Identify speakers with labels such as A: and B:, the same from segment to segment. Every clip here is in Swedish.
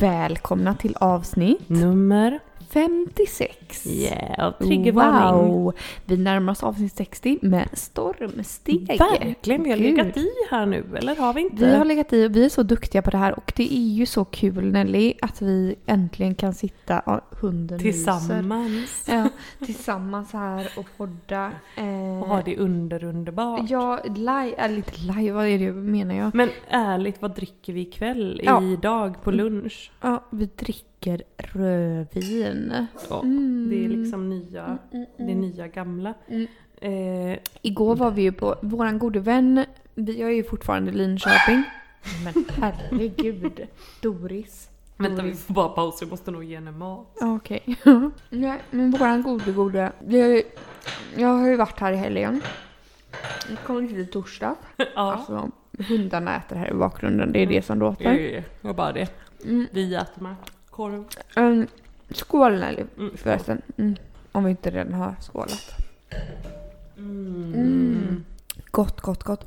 A: Välkomna till avsnitt
B: Nummer?
A: 56.
B: Yeah,
A: Wow! Vi närmar oss avsnitt 60 med stormsteg.
B: Verkligen, vi har
A: Gud.
B: legat i här nu, eller har vi inte?
A: Vi har legat i och vi är så duktiga på det här och det är ju så kul Nelly att vi äntligen kan sitta, ja, hunden myser.
B: Tillsammans.
A: Ja, tillsammans här och podda. Eh,
B: Och har det underunderbart.
A: Ja, live, äh, lite live, vad är det menar jag?
B: Men ärligt, vad dricker vi ikväll?
A: Ja. Mm.
B: Idag på lunch?
A: Ja, vi dricker rödvin.
B: Ja,
A: Mm.
B: Det är liksom nya, det är nya gamla.
A: Mm.
B: Eh,
A: Igår var vi ju på våran gode vän, vi jag är ju fortfarande i Linköping. Men herregud. Doris.
B: vänta, vi får bara pausa, jag måste nog ge henne mat.
A: Ja, Okej. Nej, men våran gode gode. Vi har ju, jag har ju varit här i helgen. Jag kom inte till torsdag.
B: ja,
A: Alltså, hundarna äter här i bakgrunden, det är det som
B: det är
A: låter.
B: ju- det var bara det.
A: Mm.
B: Vi äter med korv.
A: Um, skål Nelly,
B: Mm.
A: förresten. Mm. Om vi inte redan har skålat.
B: Mm.
A: Mm. Gott, gott, gott.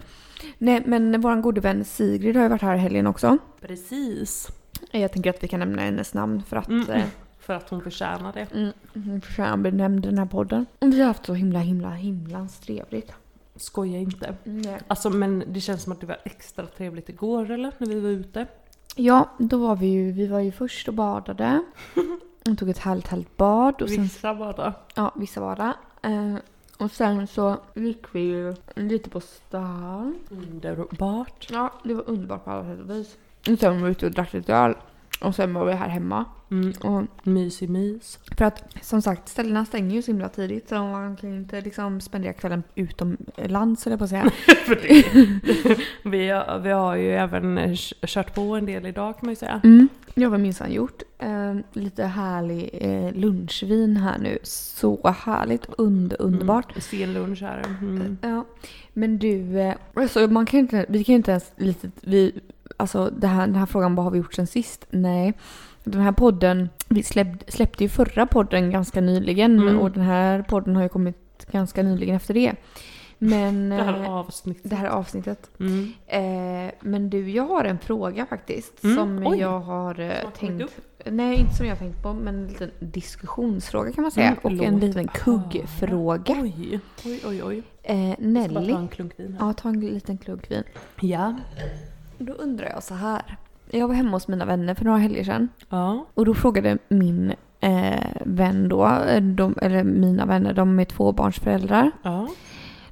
A: Nej, men våran gode vän Sigrid har ju varit här i helgen också.
B: Precis.
A: Jag tänker att vi kan nämna hennes namn för att
B: Mm.
A: eh,
B: För att hon förtjänar det.
A: Mm, hon förtjänar att bli nämnd i den här podden. Och vi har haft så himla, himla, himlans trevligt.
B: Skoja inte.
A: Nej.
B: Alltså men det känns som att det var extra trevligt igår eller? När vi var ute.
A: Ja, då var vi ju, vi var ju först och badade. Och tog ett härligt, härligt bad. Och sen,
B: Vissa bara.
A: ja, vissa var det. Eh, och sen så gick vi ju lite på stan.
B: Underbart.
A: Ja, det var underbart på alla sätt och vis. Och sen var vi ute och drack lite öl. Och sen var vi här hemma.
B: Mm.
A: Och
B: Mys i mys.
A: för att som sagt, ställena stänger ju så himla tidigt så man kan ju inte liksom spendera kvällen utomlands eller på att säga.
B: Vi, har- vi har ju även eh, kört på en del idag kan man ju säga.
A: Mm, det har vi minsann gjort. Eh, lite härlig eh, lunchvin här nu. Så härligt, under, underbart.
B: Mm. Sen lunch här. Mm.
A: Ja, men du, eh, alltså man kan ju inte, vi kan ju inte ens lite, vi, alltså det här, den här frågan, vad har vi gjort sen sist? Nej. Den här podden, vi släpp, släppte ju förra podden ganska nyligen
B: Mm.
A: och den här podden har ju kommit ganska nyligen efter det. Men
B: Det här
A: eh,
B: avsnittet.
A: det här avsnittet
B: Mm.
A: Eh, men du, jag har en fråga faktiskt.
B: Mm,
A: Som
B: oj.
A: jag har eh,
B: har kommit
A: tänkt... Nej, inte som jag har tänkt på, men en liten diskussionsfråga kan man säga.
B: Mm,
A: och en
B: låt
A: liten kuggfråga.
B: Oj, oj, oj. oj.
A: Eh,
B: Jag ska bara
A: Nelly.
B: ta en klunk vin här.
A: Ja, ta en liten klunk vin.
B: Ja.
A: Då undrar jag så här. Jag var hemma hos mina vänner för några helger sedan.
B: Ja.
A: Och då frågade min eh, vän då, eh, de, eller mina vänner, de är tvåbarnsföräldrar.
B: Ja.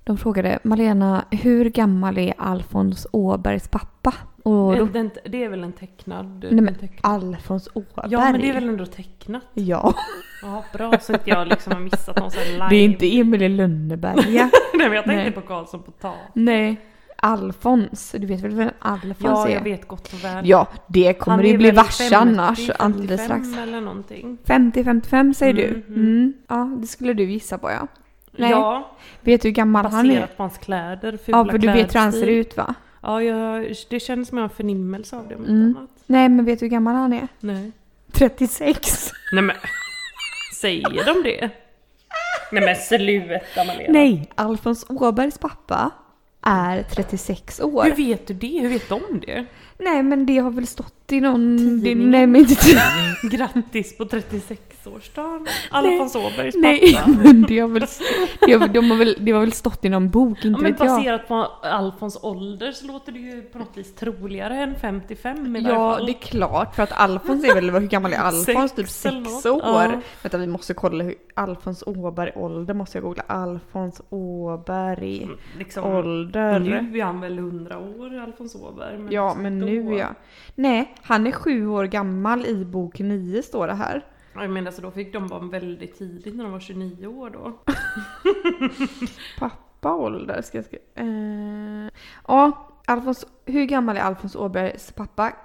A: De frågade Malena, hur gammal är Alfons Åbergs pappa? Och då,
B: Det, det, det är väl en tecknad?
A: Nej, men
B: en tecknad.
A: Alfons Åberg?
B: Ja men det är väl ändå tecknat?
A: Ja.
B: Ja bra så inte jag liksom har missat någon sån här live.
A: Det är inte Emil i Lönneberga.
B: Nej men jag tänkte
A: Nej.
B: på Karlsson på tak.
A: Nej. Alfons. Du vet väl vem Alfons
B: Ja,
A: är?
B: jag vet gott och väl.
A: Ja, det kommer
B: Han
A: det
B: är
A: bli
B: väl
A: varse
B: 50,
A: annars alldeles
B: 55
A: strax.
B: eller någonting.
A: 50-55 säger
B: Mm,
A: du?
B: mm.
A: Mm. Ja, det skulle du gissa på ja. Nej.
B: Ja,
A: Vet du hur gammal han är?
B: baserat på hans kläder, fula
A: Ja, för du vet hur han ser
B: klädstil.
A: ut va?
B: Ja, jag, det känns som jag har en förnimmelse av det. om inte
A: Mm.
B: annat.
A: Nej, men vet du hur gammal han är?
B: Nej.
A: 36.
B: Nej men, säger de det? Nej men sluta Malena.
A: Nej, Alfons Åbergs pappa är 36 år.
B: Hur vet du det? Hur vet de det?
A: Nej, men det har väl stått i någon... Det,
B: Tidning.
A: nej, men inte...
B: Grattis på 36-årsdagen, Alfons Åbergs
A: Nej,
B: pappa.
A: men det har väl, det har, de har väl, det har väl stått i någon bok,
B: Ja,
A: inte
B: men
A: vet jag.
B: baserat på Alfons ålder så låter det ju på något vis troligare än 55 i varje
A: Ja,
B: fall.
A: det är klart. För att Alfons är väl, hur gammal är Alfons? Typ
B: Sex eller
A: sex
B: något.
A: år.
B: Ja.
A: Vänta, vi måste kolla hur Alfons Åberg ålder, måste jag googla. Alfons Åberg
B: liksom,
A: ålder.
B: Nu är han väl 100 år, Alfons Åberg. Men liksom
A: Ja, men
B: då-
A: nu ja. Nej, han är sju år gammal i bok nio står det här.
B: Ja, Jag menar så då fick de vara väldigt tidigt när de var 29 år då.
A: Pappa ålder, ska jag skriva. Eh, ja, Alfons, hur gammal är Alfons Åbergs pappa? Eh,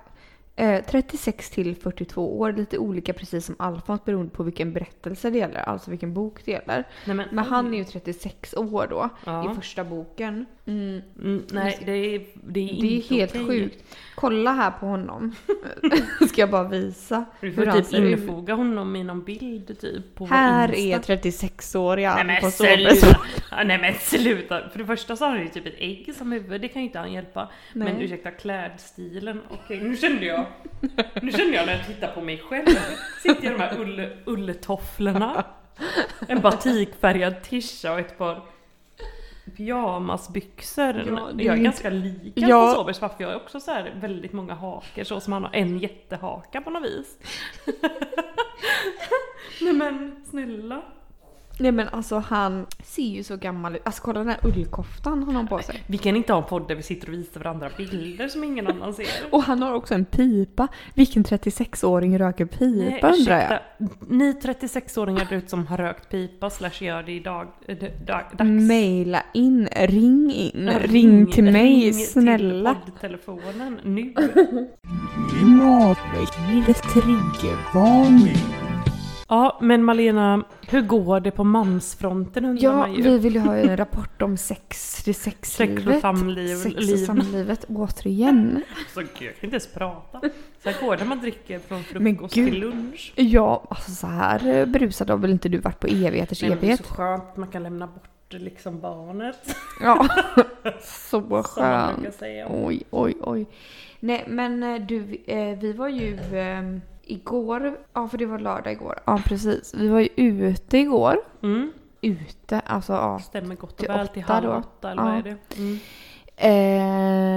A: Eh, 36 till 42 år, lite olika precis som Alfons beroende på vilken berättelse det gäller, alltså vilken bok det gäller.
B: Nej,
A: Men han är ju 36 år då,
B: Ja.
A: i första boken. Mm.
B: Mm, nej, det är, det är inte
A: Det är helt
B: okej.
A: sjukt. Kolla här på honom. Ska jag bara visa
B: Du får
A: hur han
B: typ
A: ser ut.
B: infoga honom i någon bild typ på
A: alltså, Här
B: Insta.
A: är 36-åriga
B: Nej men
A: Alfons
B: sluta!
A: Åberg.
B: Ja, nej men sluta! För det första så har han ju typ ett ägg som huvud, det kan ju inte han hjälpa. Men
A: Nej.
B: ursäkta klädstilen, okej nu kände jag, nu kände jag när jag tittar på mig själv. Sitter jag i de här ull, ulltofflorna, en batikfärgad tisha och ett par pyjamasbyxor.
A: Ja, det är
B: jag är
A: ju
B: ganska lik
A: Ja.
B: Alfons Åbergs pappa, jag har också så här väldigt många haker så som han har en jättehaka på något vis. nej men snälla.
A: Nej men alltså han ser ju så gammal ut. Alltså kolla den här ullkoftan han har på sig.
B: Vi kan inte ha en podd där vi sitter och visar varandra bilder som ingen annan ser.
A: Och han har också en pipa. Vilken 36-åring röker pipa undrar jag?
B: Ni 36-åringar där ute som har rökt pipa slash gör det i dag, eh, d- dag, dags.
A: Maila in, ring in, ring till mig
B: ring till
A: snälla.
B: poddtelefonen nu.
C: Klimatväxlingens triggervarning.
B: Ja, men Malena, hur går det på mamsfronten undrar
A: Ja,
B: man ju.
A: vi vill ju ha en rapport om sex, det sexlivet.
B: Sex och samliv.
A: Sex och
B: liv.
A: samlivet återigen.
B: Så gud, jag kan inte ens prata. Så här går det när man dricker från
A: Men
B: frukost
A: gud.
B: till lunch.
A: Ja, alltså så här eh, berusad har väl inte du varit på evigheters
B: Nej, men det är så
A: evighet?
B: skönt, man kan lämna bort liksom barnet.
A: Ja, så
B: Som man brukar
A: skönt.
B: säga.
A: Oj, oj, oj. Nej, men eh, du, eh, vi var ju eh, igår, ja för det var lördag igår, ja precis. Vi var ju ute igår.
B: Mm.
A: Ute, alltså ja.
B: Stämmer gott och
A: Till
B: väl till
A: åtta
B: halv
A: då.
B: åtta eller
A: Ja.
B: vad är det? Mm.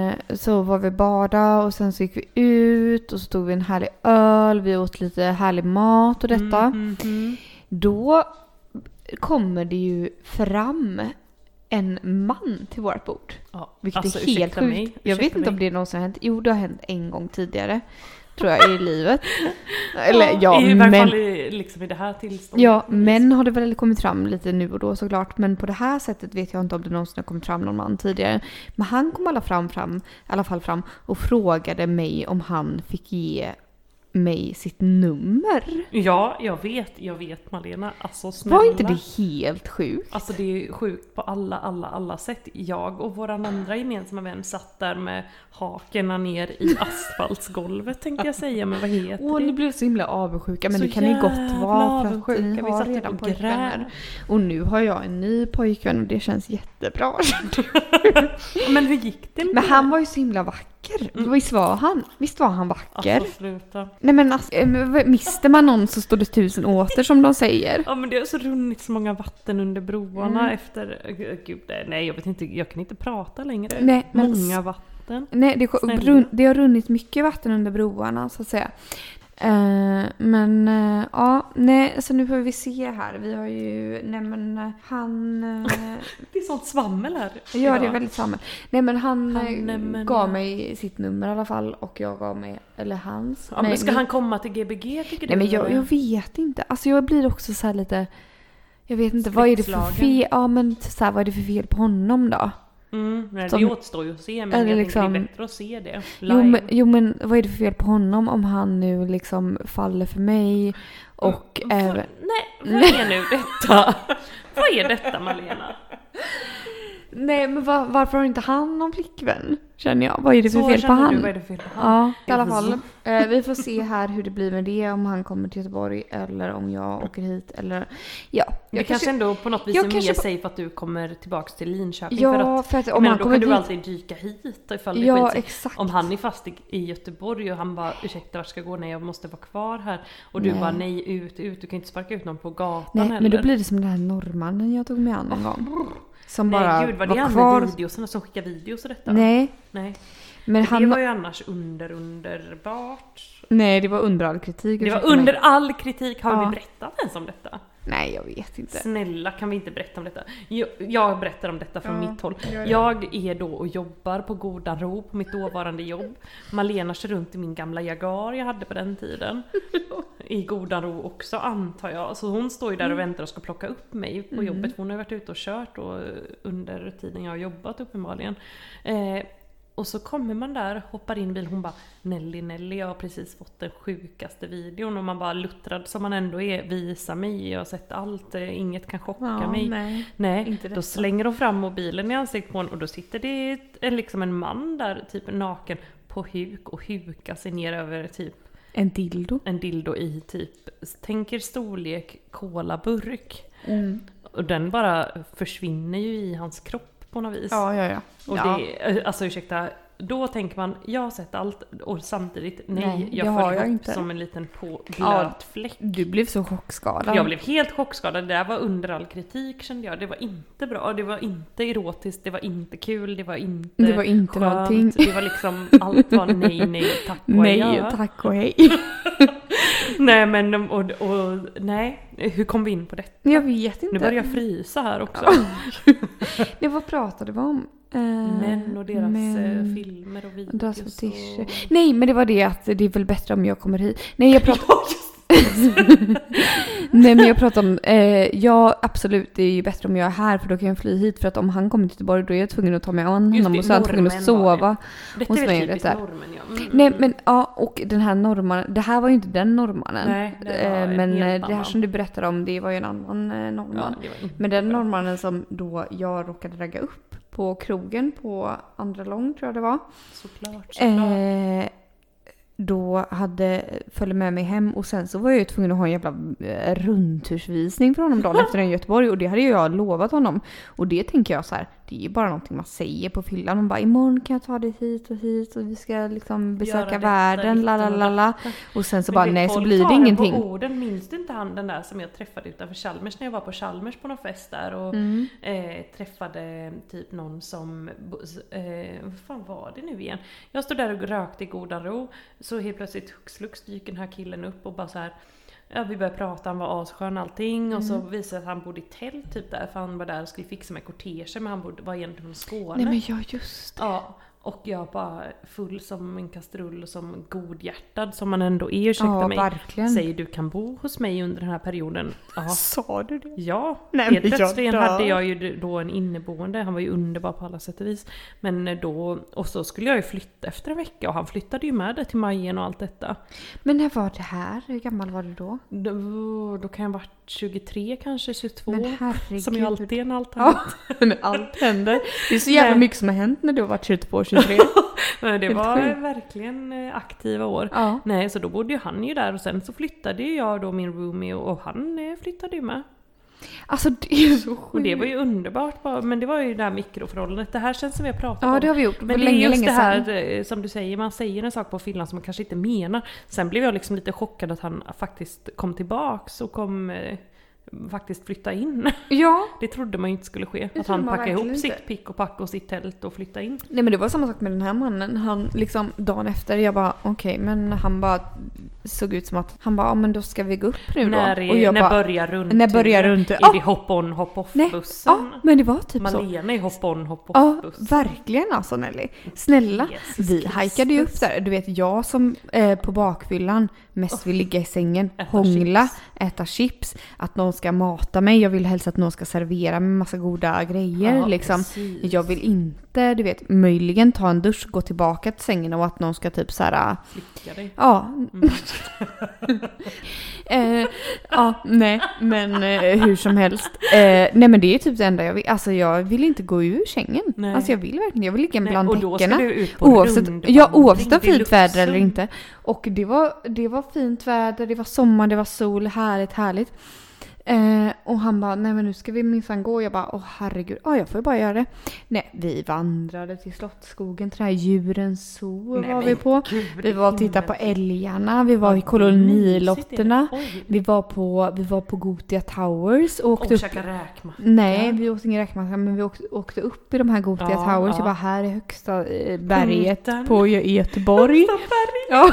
A: Eh, så var vi bada och sen så gick vi ut och så tog vi en härlig öl, vi åt lite härlig mat och detta.
B: Mm, mm,
A: Då kommer det ju fram en man till vårt bord.
B: Ja,
A: Vilket
B: alltså,
A: är helt
B: ursäkta
A: sjukt.
B: mig,
A: jag vet
B: ursäkta
A: inte om
B: mig.
A: det någonsin har hänt. Jo, det har hänt en gång tidigare. Tror jag i livet. Eller ja,
B: I varje
A: men,
B: fall i, liksom i det här tillståndet.
A: ja, men har det väl kommit fram lite nu och då såklart. Men på det här sättet vet jag inte om det någonsin har kommit fram någon man tidigare. Men han kom i alla, fram, fram, i alla fall fram och frågade mig om han fick ge mig sitt nummer.
B: Ja, jag vet, jag vet Malena. Alltså snälla.
A: Var inte det helt sjukt?
B: Alltså det är sjukt på alla, alla, alla sätt. Jag och våran andra gemensamma vän satt där med hakorna ner i asfaltsgolvet tänkte jag säga, men vad heter
A: Åh,
B: det?
A: ni blev så himla avundsjuka. Men
B: Så
A: det kan ni gott vara för att
B: jävla
A: ni
B: avundsjuka. Vi
A: har
B: satt
A: redan
B: och
A: pojkvänner.
B: grät.
A: Och nu har jag en ny pojkvän och det känns jättebra.
B: Men hur gick det med
A: Men han var ju så himla vacker.
B: Mm.
A: Visst var han? Visst var han vacker?
B: Alltså sluta.
A: Nej men alltså, eh, men vad- mister man någon så står det tusen åter som de säger.
B: Ja men det har så runnit så många vatten under broarna
A: Mm.
B: efter... eh, Gud, nej jag vet inte, jag kan inte prata längre.
A: Nej, men-
B: Många vatten.
A: Nej, det,
B: Snälla.
A: brun, det har runnit mycket vatten under broarna så att säga. Eh, men eh, ja, nej, så nu får vi se här. Vi har ju, nej men eh, han... eh,
B: Det är sånt svammel här.
A: Ja, det är väldigt samma. Nej men han,
B: Han,
A: eh,
B: nej, men-
A: gav mig sitt nummer i alla fall och jag gav mig, eller hans.
B: Ja, men ska han komma till Gbg tycker du?
A: nej men jag,
B: eller?
A: jag vet inte. Alltså jag blir också så här lite... Jag vet inte, vad är det för
B: Skräckslagen.
A: fel? Ja men typ så här, vad är det för fel på honom då?
B: Mm, nej,
A: Som-
B: det återstår ju att se men
A: Eller
B: jag
A: liksom-
B: tänker det är bättre att se det. Live.
A: Jo men, jo men vad är det för fel på honom om han nu liksom faller för mig och även...
B: Nej, vad är nu detta? vad är detta Malena?
A: Nej men va- varför har inte han någon flickvän? Känner jag. Vad är det för
B: Så
A: fel på
B: känner du,
A: han?
B: vad är det för fel på han?
A: Ja, i alla
B: Jag får
A: fall. Eh, vi får se här hur det blir med det, om han kommer till Göteborg eller om jag åker hit eller... Ja,
B: Det
A: jag
B: kanske, ändå på något vis
A: jag
B: är
A: kanske
B: mer
A: på-
B: safe att du kommer tillbaks till Linköping för
A: Ja,
B: att
A: för att om
B: men
A: han
B: då kan
A: kommer
B: du
A: dit...
B: alltid dyka hit ifall det
A: Ja,
B: skiter sig.
A: exakt.
B: Om han är fast i, i Göteborg och han bara ursäkta vart ska jag gå? Nej jag måste vara kvar här. Och du
A: Nej.
B: bara nej ut, ut. Du kan inte sparka ut någon på gatan
A: Nej,
B: heller.
A: men då blir det som den här norrmannen jag tog med an en gång. Som bara
B: Nej gud vad det är
A: var
B: han
A: kvar.
B: med videosarna som skickar videos och detta.
A: Nej,
B: nej.
A: men
B: det
A: han...
B: var ju annars under underbart.
A: Nej, det var under all kritik.
B: Det var
A: ursäkta mig.
B: under all kritik. Har
A: Ja.
B: vi berättat ens om detta?
A: Nej, jag vet inte.
B: Snälla kan vi inte berätta om detta? Jag, jag berättar om detta från
A: Ja,
B: mitt håll.
A: gör det.
B: Jag är då och jobbar på Goda Ro på mitt dåvarande jobb. Malena kör runt i min gamla Jagar jag hade på den tiden. I Goda Ro också antar jag. Så hon står ju där och
A: Mm.
B: väntar och ska plocka upp mig på jobbet. Hon har ju varit ute och kört då, under tiden jag har jobbat uppenbarligen. Eh, Och så kommer man där, hoppar in i bilen, hon bara Nelly Nelly jag har precis fått den sjukaste videon och man bara luttrad som man ändå är, visa mig, jag har sett allt, eh, inget kan chocka
A: Ja,
B: mig.
A: nej.
B: Nej,
A: Inte detta.
B: då slänger de fram mobilen i ansiktet på honom och då sitter det ett- en, liksom en man där, typ naken, på huk och hukar sig ner över typ
A: En dildo.
B: en dildo i typ, tänker storlek kolaburk. Och den bara försvinner ju i hans kropp på något vis.
A: Ja, ja, ja.
B: Och
A: ja.
B: det, alltså ursäkta, då tänker man jag har sett allt och samtidigt nej,
A: Nej,
B: jag
A: det har
B: föll
A: jag
B: ihop
A: inte.
B: som en liten på, blöt
A: Ja.
B: fläck.
A: Du blev så chockskadad.
B: Jag blev helt chockskadad, det där var under all kritik kände jag. Det var inte bra, det var inte erotiskt, det var inte kul, det var inte
A: Det var inte
B: skönt.
A: någonting.
B: Det var liksom, allt var nej, nej, tack och
A: Nej,
B: adjö.
A: tack och hej.
B: Nej men och, och, nej, hur kom vi in på detta?
A: Jag vet inte.
B: Nu börjar jag frysa här också.
A: Nej, vad pratade vi om? Eh,
B: Män och deras
A: män.
B: eh, filmer och videos.
A: Deras
B: och...
A: fetischer. Nej, men det var det att det är väl bättre om jag kommer hit. Nej, jag pratar... Nej, men jag pratar om... Eh, ja, absolut, det är ju bättre om jag är här för då kan jag fly hit. För att om han kommer till Göteborg då är jag tvungen att ta mig an
B: Just
A: honom
B: det, Mm.
A: och så är han tvungen att
B: norrmän var
A: sova.
B: Detta
A: Hos
B: är
A: mig är
B: väl typiskt
A: detta.
B: normen ja. Mm,
A: Nej,
B: mm.
A: men ja, och den här norrmannen. Det här var ju inte den norrmannen.
B: Nej, det var
A: eh,
B: en
A: men
B: helt
A: eh, det här
B: annan.
A: som du berättade om, det var ju en annan eh, norrman.
B: Ja, det var inte
A: Men den
B: bra.
A: norrmannen som då jag råkade ragga upp på krogen på andra lång tror jag det var.
B: Såklart, såklart.
A: Eh, då hade, följde med mig hem och sen så var jag ju tvungen att ha en jävla eh, rundtursvisning för honom dagen efter den i Göteborg och det hade ju jag lovat honom. Och det tänker jag så här, det är ju bara någonting man säger på fyllan. Man bara imorgon kan jag ta dig hit och hit och vi ska liksom besöka
B: detta,
A: världen,
B: ditten
A: la
B: och
A: la la la. Och sen så
B: Men
A: bara
B: vet,
A: nej så
B: folk
A: blir
B: tar
A: det
B: den
A: ingenting.
B: På orden, minns du inte han den där som jag träffade utanför Chalmers när jag var på Chalmers på någon fest där och
A: Mm.
B: eh, träffade typ någon som, eh, vad fan var det nu igen? Jag stod där och rökte i godan ro, så helt plötsligt hux flux dyker den här killen upp och bara så här Ja, vi började prata, han var asskön och allting och så
A: Mm.
B: visade det att han bodde i tält typ där för han var där och skulle fixa med kortege men han bodde, var egentligen från Skåne.
A: Nej men ja just det.
B: Ja, och jag bara full som en kastrull och som godhjärtad som man ändå är, ursäkta
A: Ja,
B: mig.
A: verkligen.
B: Säger du kan bo hos mig under den här perioden. Ja.
A: Sa du det?
B: Ja,
A: Nej, men
B: helt
A: jag
B: plötsligt
A: dör.
B: hade jag ju då en inneboende, han var ju underbar på alla sätt och vis. Men eh, då, och så skulle jag ju flytta efter en vecka och han flyttade ju med det till Majen och allt detta.
A: Men när var det här? Hur gammal var du då?
B: Då, då kan jag ha varit 23 kanske, 22.
A: Men herregud.
B: Som ju alltid är en allt
A: Ja,
B: annat.
A: men allt händer. Det är så jävla
B: Nej.
A: mycket som har hänt när du har varit 22 och 23.
B: Men Det
A: Helt
B: var
A: sjukt.
B: verkligen eh, aktiva år.
A: Ja.
B: Nej, så då bodde ju han ju där och sen så flyttade ju jag då min roomie och och han eh, flyttade ju med.
A: Alltså det är ju så sjukt.
B: Och det var ju underbart, bara- men det var ju det här mikroförhållandet. Det här känns som vi har pratat om.
A: Ja, det har vi gjort.
B: men
A: för
B: det är
A: länge,
B: just
A: länge
B: det här
A: sedan.
B: eh, som du säger, man säger en sak på fyllan som man kanske inte menar. Sen blev jag liksom lite chockad att han faktiskt kom tillbaks och kom eh, faktiskt flytta in.
A: Ja.
B: Det trodde man ju inte skulle ske. Att
A: trodde
B: han
A: man
B: packade ihop
A: verkligen inte.
B: sitt pick och pack och sitt tält och flytta in.
A: Nej men det var samma sak med den här mannen. Han liksom dagen efter, jag bara okej men han bara såg ut som att han bara ja men då ska vi gå upp nu då.
B: När, är-
A: och jag
B: när
A: bara,
B: börjar runt?
A: när börjar rundturen?
B: Är det
A: Ah!
B: hop on hop off
A: Nej,
B: bussen?
A: ja men det var typ så.
B: Malena är hop on hop
A: Ja,
B: off bussen.
A: verkligen alltså Nelly. Snälla,
B: Jesus
A: vi hajkade ju upp
B: Kristus.
A: där. Du vet, jag som eh, på bakfyllan mest vill ligga i sängen,
B: Äta
A: hångla, äta chips, att någon ska mata mig, jag vill helst att någon ska servera mig massa goda grejer
B: Ja,
A: liksom.
B: precis.
A: Jag vill inte, du vet, möjligen ta en dusch, gå tillbaka till sängen och att någon ska typ så här.
B: Slicka dig.
A: ja.
B: Mm.
A: eh, ja, nej, men eh, hur som helst. Eh, nej men det är typ det enda jag vill. Alltså jag vill inte gå ur sängen.
B: Nej.
A: Alltså jag vill verkligen, jag vill ligga
B: Nej,
A: bland
B: och då ska
A: täckena.
B: du ut Typ på
A: Oavsett,
B: rundvandring
A: ja, oavsett om
B: vid
A: fint väder eller
B: Luxor.
A: inte. Och det var, det var fint väder, det var sommar, det var sol, härligt, härligt. Eh, och han bara, nej men nu ska vi minsann gå. Jag bara, åh herregud, ja jag får ju bara göra det. Nej, vi vandrade till Slottsskogen, till det här djurens zoo
B: Nej,
A: var
B: men
A: vi på.
B: gud,
A: Vi var och tittade på älgarna, vi var i
B: mysigt
A: kolonilotterna.
B: är det. Oj.
A: Vi var på, vi var på Gotia Towers och
B: Och
A: åkte upp
B: käka räkmacka.
A: Nej, vi åt ingen räkmacka men vi åkte, åkte upp i de här Gothia
B: Ja,
A: Towers.
B: ja.
A: typ Jag bara, här är högsta eh, berget
B: Punkten.
A: på Gö- i Göteborg.
B: Stoppar i.
A: ja.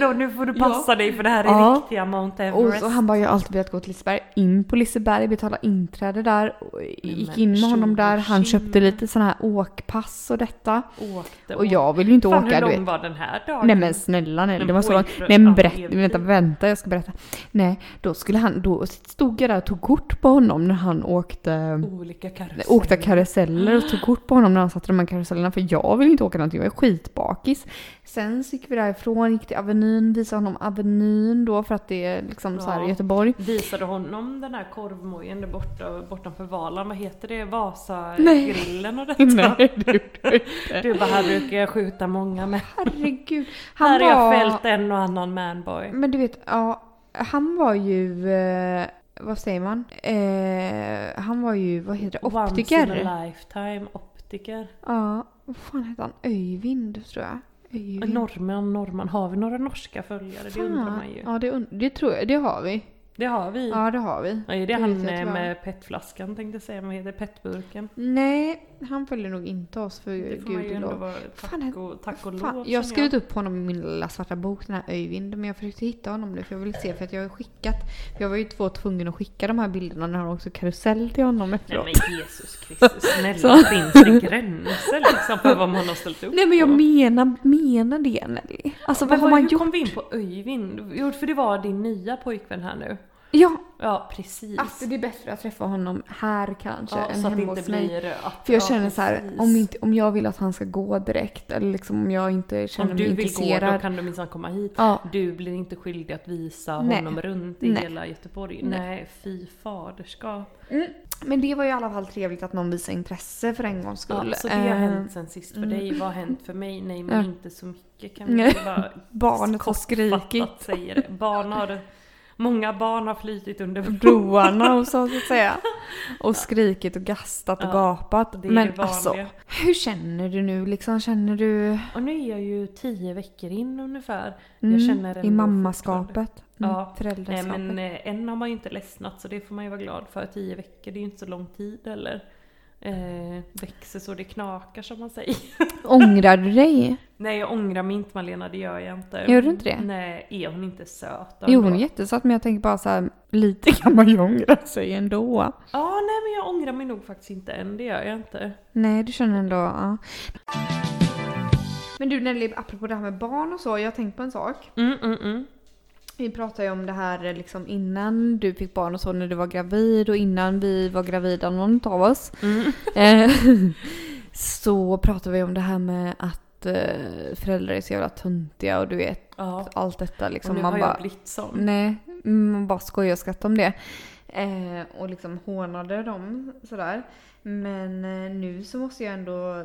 B: Nå, nu får du passa dig för det här är
A: Ja.
B: riktiga Mount
A: Och
B: Everest.
A: så han bara, jag har alltid velat gå till Liseberg. In på Liseberg, betala inträde där. Och gick
B: men
A: in med honom där. Han
B: tjo och
A: köpte
B: tjim.
A: lite sådana här åkpass och detta.
B: åkte
A: Och jag vill ju inte
B: Fan
A: åka,
B: hur
A: du
B: lång
A: vet.
B: var den här dagen?
A: Nej men snälla nej,
B: Men
A: det var så långt.
B: pojkvän-
A: Nej men
B: ja,
A: berätta,
B: evigt.
A: vänta, vänta, jag ska berätta. Nej, då skulle han, då stod jag där och tog kort på honom när han åkte
B: Olika karuseller.
A: åkte karuseller och tog kort på honom när han satt i de här karusellerna för jag vill inte åka någonting, jag är skitbakis. Sen så gick vi därifrån, gick till Avenyn, visade honom Avenyn då för att det är liksom så här
B: Ja.
A: i Göteborg.
B: Visade honom den här korvmojen där borta, bortanför Valan, vad heter det?
A: Nej.
B: Vasagrillen och detta.
A: Nej, du, du.
B: Du bara, här brukar jag skjuta många men
A: Herregud. Han
B: här har
A: var... Mm,
B: jag fällt en och annan manboy.
A: Men du vet, ja, han var ju, eh, vad säger man? Eh, han var ju, vad heter det,
B: Once in
A: optiker.
B: a lifetime optiker.
A: Ja, vad fan heter han? Öjvind tror jag. Öjvind.
B: Norrman, norrman. Har vi några norska följare? Det undrar man ju. Mm.
A: Ja, det, und- det tror jag, det har vi.
B: Det har vi.
A: Ja, det har vi.
B: Ja, är det,
A: vet
B: han
A: jag
B: eh,
A: tyvärr.
B: med petflaskan tänkte jag säga, men heter petburken?
A: Nej, han följer nog inte oss för
B: Det får man ju ändå
A: gudelov.
B: vara
A: Fan,
B: tack och, tack och lov.
A: Fan,
B: känner
A: jag har skrivit upp honom i min lilla svarta bok, den här Öjvind, men jag försökte hitta honom nu för jag ville se för att jag har skickat. Jag var ju två tvungen att skicka de här bilderna när han också karusell till honom
B: Nej
A: efteråt.
B: men Jesus Kristus, snälla
A: Så.
B: finns det gränser liksom för vad man har ställt upp
A: Nej men jag
B: på?
A: menar, menar det Nelly. Alltså
B: Men
A: vad har
B: vad-
A: man
B: Hur
A: gjort?
B: kom vi in på Öyvind? Jo, för det var din nya pojkvän här nu.
A: Ja,
B: Ja, precis.
A: att Alltså, det är bättre att träffa honom här kanske
B: ja,
A: än
B: så att det
A: hemma
B: inte
A: hos mig.
B: blir... Att,
A: För jag
B: ja,
A: känner så här,
B: precis.
A: om, inte, om jag vill att han ska gå direkt eller liksom om jag inte känner
B: Om
A: mig
B: du vill gå,
A: intresserad.
B: då kan du minsann komma hit.
A: Ja,
B: Du blir inte skyldig att visa
A: Nej.
B: honom runt i
A: Nej.
B: hela Göteborg.
A: Nej.
B: Nej. fy faderskap.
A: men det var ju i alla fall trevligt att någon visar intresse för en gångs skull.
B: Ja, så det har
A: Eh,
B: hänt sen sist för dig. Vad har hänt för mig? Nej, men
A: Ja.
B: inte så mycket kan vi
A: Nej.
B: väl bara
A: Barnet har skrikit.
B: kortfattat säga det. Barn har... Många barn har flytit under
A: Mm.
B: bron.
A: broarna och så, så att säga. Och skrikit och gastat och
B: Ja,
A: gapat.
B: Det är
A: Men
B: det vanliga.
A: alltså, hur känner du nu liksom? Känner du
B: Och nu är jag ju tio veckor in ungefär.
A: mm,
B: Jag känner ändå
A: i mammaskapet?
B: fortfarande-
A: Mm,
B: Ja. Nej
A: Föräldraskapet?
B: men eh, än har man ju inte ledsnat så det får man ju vara glad för. Tio veckor det är ju inte så lång tid eller eh, Växer så det knakar som man säger.
A: Ångrar du dig?
B: Nej jag ångrar mig inte Malena, det gör jag inte.
A: Gör du inte det?
B: Nej, är hon inte söt
A: Jo,
B: ändå?
A: hon är jättesöt men jag tänker bara så här, lite kan man ju ångra sig ändå.
B: Ja, nej men jag ångrar mig nog faktiskt inte än, det gör jag inte.
A: Nej, du känner ändå, ja. Men du Nelly, apropå det här med barn och så, jag har tänkt på en sak.
B: Mm, mm, mm.
A: Vi pratade ju om det här eh, liksom innan du fick barn och så, när du var gravid och innan vi var gravida, någon av oss.
B: Mm.
A: Eh, så pratade vi om det här med att eh, föräldrar är så jävla töntiga och du vet
B: Ja,
A: allt detta liksom.
B: och nu
A: man
B: har
A: bara, Mm.
B: jag blivit sån.
A: Nej, man bara skojar och skrattar om det. Eh, och liksom hånade dem sådär. Men eh, nu så måste jag ändå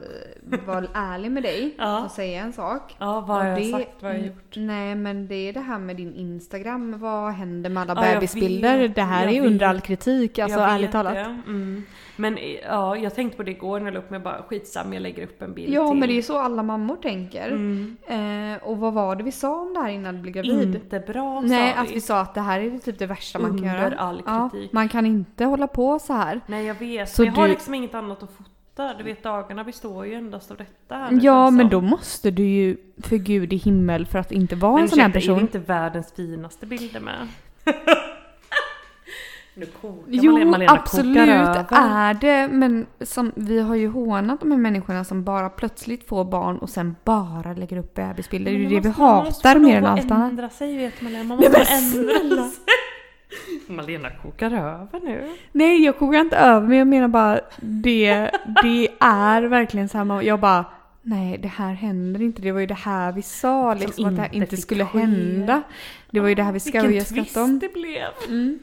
A: eh, vara ärlig med dig
B: Ja.
A: och säga en sak.
B: Ja, vad har
A: Och
B: jag
A: det- mm,
B: sagt, vad har jag gjort?
A: Nej men det är det här med din Instagram. Vad händer med alla
B: Ja, jag
A: bebisbilder?
B: vet,
A: Det här
B: jag
A: är ju under
B: vet.
A: all kritik, alltså
B: Jag vet
A: ärligt talat.
B: det, Mm. Men eh, ja, jag tänkte på det igår när jag la upp mig bara skitsam, jag lägger upp en bild
A: Ja
B: till. Mm.
A: men det är ju så alla mammor tänker. Eh, och vad var det vi sa om det här innan du blev gravid?
B: Inte bra
A: Nej,
B: sa
A: att vi sa att det här är typ det värsta man kan
B: Under
A: göra.
B: all
A: Ja,
B: kritik.
A: man kan inte hålla på så här.
B: Nej jag vet,
A: Så
B: men jag har
A: du-
B: liksom inget annat att fota. Du vet dagarna består ju endast av detta. här liksom. nu,
A: Ja,
B: känns som.
A: men då måste du ju för gud i himmel för att inte vara
B: Men
A: en sån här
B: ursäkta, Är det
A: person.
B: inte världens finaste bilder med? nu kokar
A: Jo,
B: Malena, Malena
A: absolut
B: kokar över.
A: är det. Men som, vi har ju hånat de här människorna som bara plötsligt får barn och sen bara lägger upp bebisbilder. Det är ju det vi
B: måste- man måste
A: hatar
B: få
A: mer än
B: lov att
A: allt annat.
B: ändra sig vet Malena, man måste ändra sig. Malena kokar över nu.
A: Nej, jag kokar inte över men jag menar bara det, det är verkligen så här. man- Jag bara Nej, det här händer inte. Det var ju det här vi sa liksom, att det här
B: inte
A: inte
B: fick
A: skulle
B: ske.
A: hända. Det var ju det här vi skojade och
B: Vilken
A: skrattade
B: twist
A: om.
B: det blev!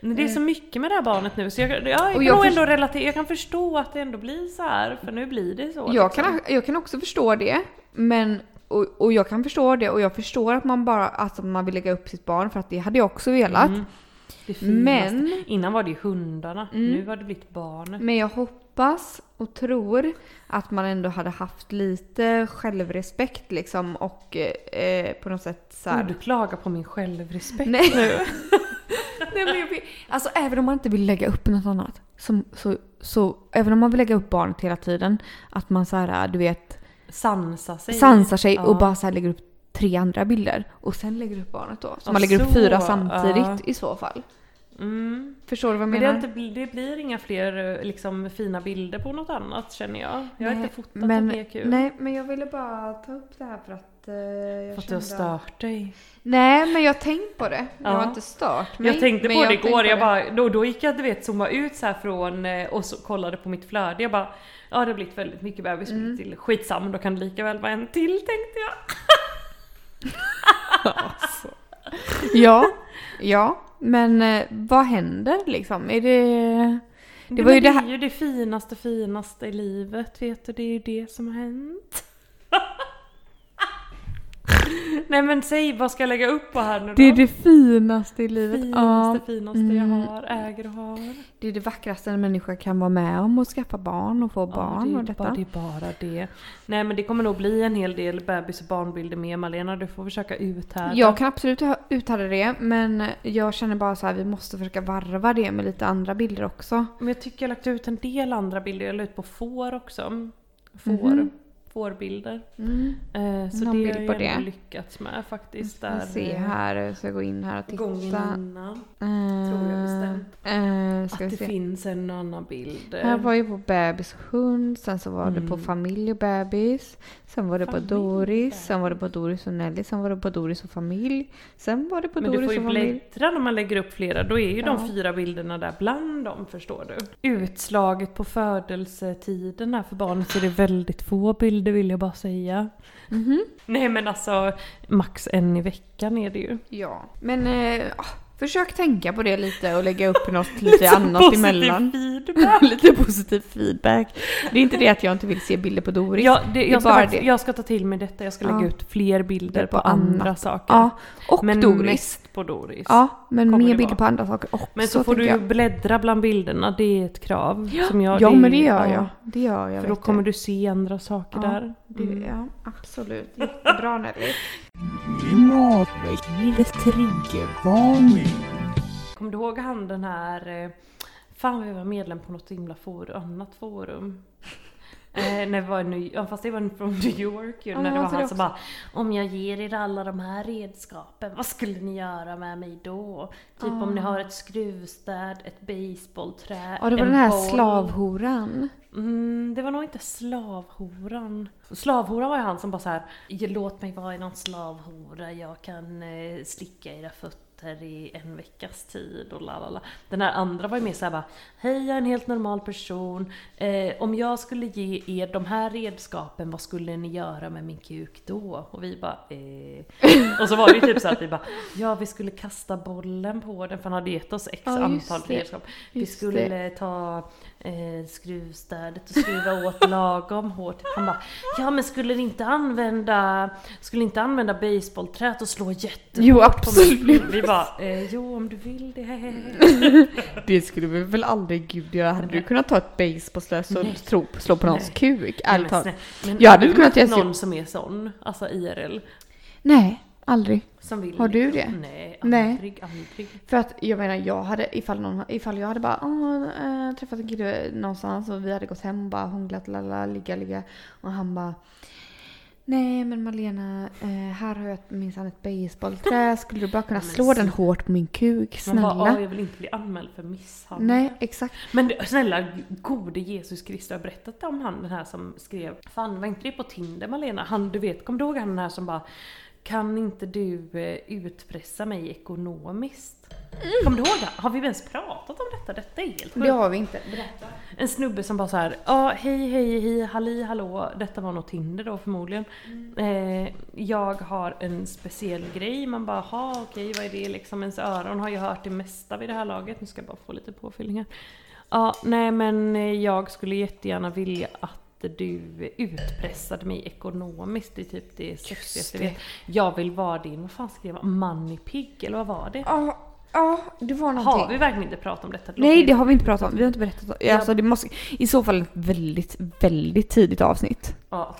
B: Men det är så mycket med det här barnet nu så jag, ja, jag
A: Och
B: kan
A: jag
B: nog
A: först-
B: ändå relatera, jag kan förstå att det ändå blir så här för nu blir det så. liksom.
A: Jag kan, jag kan också förstå det. Men, och, och jag kan förstå det och jag förstår att man bara alltså, att man vill lägga upp sitt barn för att det hade jag också velat.
B: Mm. Det finaste.
A: Men,
B: Innan var det ju hundarna, nu har det blivit barnet.
A: men jag hoppas och tror att man ändå hade haft lite självrespekt liksom och eh, eh, på något sätt så här.
B: Oh, du klagar på min självrespekt.
A: Nej. Nej, men jag vill, alltså även om man inte vill lägga upp något annat. Som, så, så även om man vill lägga upp barnet hela tiden. Att man så här, du vet.
B: Sansa sig.
A: sansar sig och
B: Ja.
A: bara så här lägger upp tre andra bilder. Och sen lägger upp barnet då. Så
B: Ja,
A: man lägger upp
B: så,
A: fyra
B: ja.
A: samtidigt i så fall.
B: Mm.
A: Förstår du vad jag
B: Men det,
A: menar?
B: är inte, det blir inga fler eh, liksom, fina bilder på något annat känner jag. Jag har
A: Nej,
B: inte fotat
A: men,
B: och det är kul.
A: Nej, men jag ville bara ta upp det här för att eh, jag
B: För att du har
A: kände att-
B: stört dig.
A: Nej, men jag har tänkt på det. Jag har
B: Ja.
A: inte stört mig.
B: Jag tänkte
A: men
B: på
A: har
B: det
A: tänkt
B: igår, jag
A: det.
B: bara, då, då gick jag du vet zooma ut så här från eh, och så kollade på mitt flöde. Jag bara, ja det har blivit väldigt mycket bebis
A: Mm.
B: till. Skitsamma, då kan det lika väl vara en till tänkte jag.
A: Ja, ja. Men eh, vad händer liksom? Är det... Det var ju
B: men
A: det
B: det
A: här...
B: är ju det finaste finaste i livet, vet du. Det är ju det som har hänt. Nej men säg, vad ska jag lägga upp på här nu då?
A: Det är det finaste i livet.
B: finaste
A: Ja.
B: finaste
A: Mm.
B: jag har, äger och har.
A: Det är det vackraste en människa kan vara med om. Att skaffa barn och få barn
B: det, är
A: och detta.
B: Bara, det är bara det. Nej men det kommer nog bli en hel del bebis och barnbilder med Malena. Du får försöka uthärda.
A: Jag kan absolut ha- uthärda det, men jag känner bara så här, vi måste försöka varva det med lite andra bilder också.
B: Men jag tycker jag har lagt ut en del andra bilder. Jag la ut på får också. Får.
A: Mhm.
B: Fårbilder.
A: Mm.
B: Eh, så
A: Någon
B: det
A: bild
B: har
A: på
B: jag
A: det.
B: ändå lyckats med faktiskt. Där,
A: Där, se
B: eh,
A: här, så jag går in här och tittar.
B: Gången innan. tror jag bestämt.
A: Eh, eh, ska
B: Att det
A: vi se.
B: finns en annan bild. eh,
A: Här var ju på bebis och hund, sen så var det på
B: Mm.
A: familj och bebis. Sen var det på
B: Familj och
A: Doris,
B: bebis.
A: sen var det på Doris och Nelly, sen var det på Doris och familj. Sen var det på
B: Men du
A: Doris
B: får ju
A: och familj.
B: bläddra när man lägger upp flera, då är ju
A: Ja.
B: de fyra bilderna där bland dem förstår du. Utslaget på födelsetiden här för barnet så är det väldigt få bilder vill jag bara säga.
A: Mhm.
B: Nej men alltså, max en i veckan är det ju.
A: Ja, men eh, ah, försök tänka på det lite och lägga upp något lite annat
B: Positiv
A: emellan.
B: feedback.
A: lite positiv feedback. Det är inte det att jag inte vill se bilder på Doris.
B: Ja, det, jag, ska
A: bara
B: faktiskt,
A: det.
B: jag ska ta till mig detta, jag ska lägga
A: Ja.
B: ut fler bilder
A: på
B: på, andra
A: annat.
B: saker.
A: Ja, och
B: men
A: Doris.
B: mest på Doris.
A: Ja, men
B: kommer
A: mer
B: det
A: bilder
B: vara.
A: på andra saker också.
B: men så, får du
A: tänker
B: ju
A: jag.
B: bläddra bland bilderna, det är ett krav. Som jag,
A: Ja,
B: är-
A: men det gör
B: ja.
A: jag. Det gör jag.
B: För då
A: vet
B: kommer
A: du.
B: du se andra saker
A: Ja,
B: där. Mm.
A: Det, ja, absolut. Jättebra Nelly.
C: Matveckans triggervarning.
B: Kommer du ihåg han den här... eh, Fan vi var medlem på något himla forum, annat forum. Eh, när vi var i New, ja, fast det var från New York ju,
A: Ja,
B: när det
A: jag
B: var
A: tror
B: han
A: det
B: som bara Om jag ger er alla de här redskapen, vad skulle ni göra med mig då? Typ om ni har ett skruvstäd, ett baseballträ,
A: Ah. Ja, det var
B: en
A: den här
B: boll."
A: slavhoran.
B: Mm, det var nog inte slavhoran. Slavhoran var ju han som bara så här, låt mig vara i någon slavhora, jag kan eh, slicka era fötter i en veckas tid och la la la. Den här andra var ju mer såhär bara, hej jag är en helt normal person, eh, om jag skulle ge er de här redskapen, vad skulle ni göra med min kuk då? Och vi bara, eh. Och så var det ju typ så att vi bara, ja vi skulle kasta bollen på den för han hade gett oss x
A: Ja, just
B: antal
A: det.
B: redskap. Vi
A: Just
B: skulle
A: det.
B: eh, ta eh, skruvstädet och skruva åt lagom hårt. Han bara, ja men skulle ni inte använda, skulle ni inte använda baseballträt och slå jättehårt
A: Jo,
B: på mig?
A: absolut.
B: Vi bara, eh, jo om du vill det.
A: Det skulle vi väl aldrig gud göra. Hade du kunnat ta ett basebollslö
B: Nej.
A: och tro, slå på någons
B: Nej.
A: kuk?
B: Nej,
A: Ärligt
B: men,
A: talat.
B: snälla. men
A: Jag
B: har
A: hade
B: du
A: inte
B: mött
A: kunnat göra så.
B: någon som är sån, alltså IRL.
A: Nej, aldrig.
B: Som vill
A: Har du
B: liksom-
A: det?
B: Nej,
A: Nej.
B: aldrig, aldrig.
A: För att jag menar, jag hade, ifall, någon, ifall jag hade bara "Åh, eh, träffat en kille någonstans och vi hade gått hem och bara hånglat, lalla, ligga, ligga. Och han bara Nej men Malena, eh, här har jag minsann ett baseballträ. Skulle du bara kunna
B: Men
A: slå den hårt på min kuk?
B: Man bara, "Åh,
A: Snälla.
B: jag vill inte bli anmäld för misshandel.
A: Nej, exakt.
B: Men det- snälla gode Jesus Kristus, jag har berättat om han den här som skrev Fan var inte det på Tinder Malena? Han du vet, kommer du ihåg han den här som bara Kan inte du eh, utpressa mig ekonomiskt? Kommer du ihåg det? Har vi ens pratat om detta? Detta är helt
A: Det
B: sjukt.
A: har vi inte.
B: En snubbe som bara så här, ja hej hej hej halli hallå, detta var nog Tinder då förmodligen.
A: Mm.
B: Eh, jag har en speciell grej, man bara ha okej vad är det liksom, ens öron har ju hört det mesta vid det här laget, nu ska jag bara få lite påfyllningar. Ja, nej men eh, jag skulle jättegärna vilja att du utpressade mig ekonomiskt, det är typ det sexigaste jag
A: det.
B: vet. Jag vill vara din, vad fan skrev man, money pig eller vad var det?
A: Ja, ja, det var någonting.
B: Har vi verkligen inte pratat om detta?
A: Nej, det har vi inte pratat om. Vi har inte berättat om det. Alltså, det måste, I så fall ett väldigt, väldigt tidigt avsnitt.
B: Ja.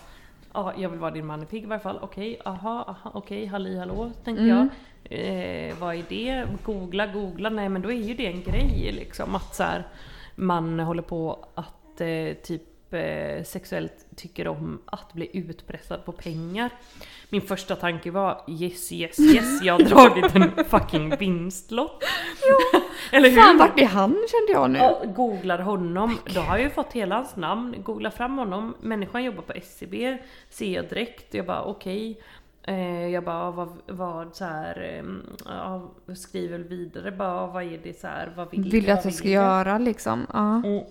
B: ja, jag vill vara din man i pigg i varje fall. Okej, aha, aha, okej, halli hallå, tänkte
A: Mm.
B: jag. Eh, vad är det? Googla, googla. Nej men då är ju det en grej liksom att så här, man håller på att eh, typ typ eh, sexuellt tycker om att bli utpressad på pengar. Min första tanke var yes, yes, yes, jag har dragit en fucking vinstlott. Eller hur?
A: Fan Mm. vart är han kände jag nu.
B: Ja, Eh, googlar honom, då har jag ju fått hela hans namn. Googlar fram honom, människan jobbar på SCB, ser jag E direkt. Jag bara okej. Eh, Jag bara vad, vad så här, ehm, ja, skriver vidare bara vad är det så här, vad vill
A: Vill du
B: vad
A: att jag ska
B: vill
A: göra liksom?
B: Mm,
A: Ja.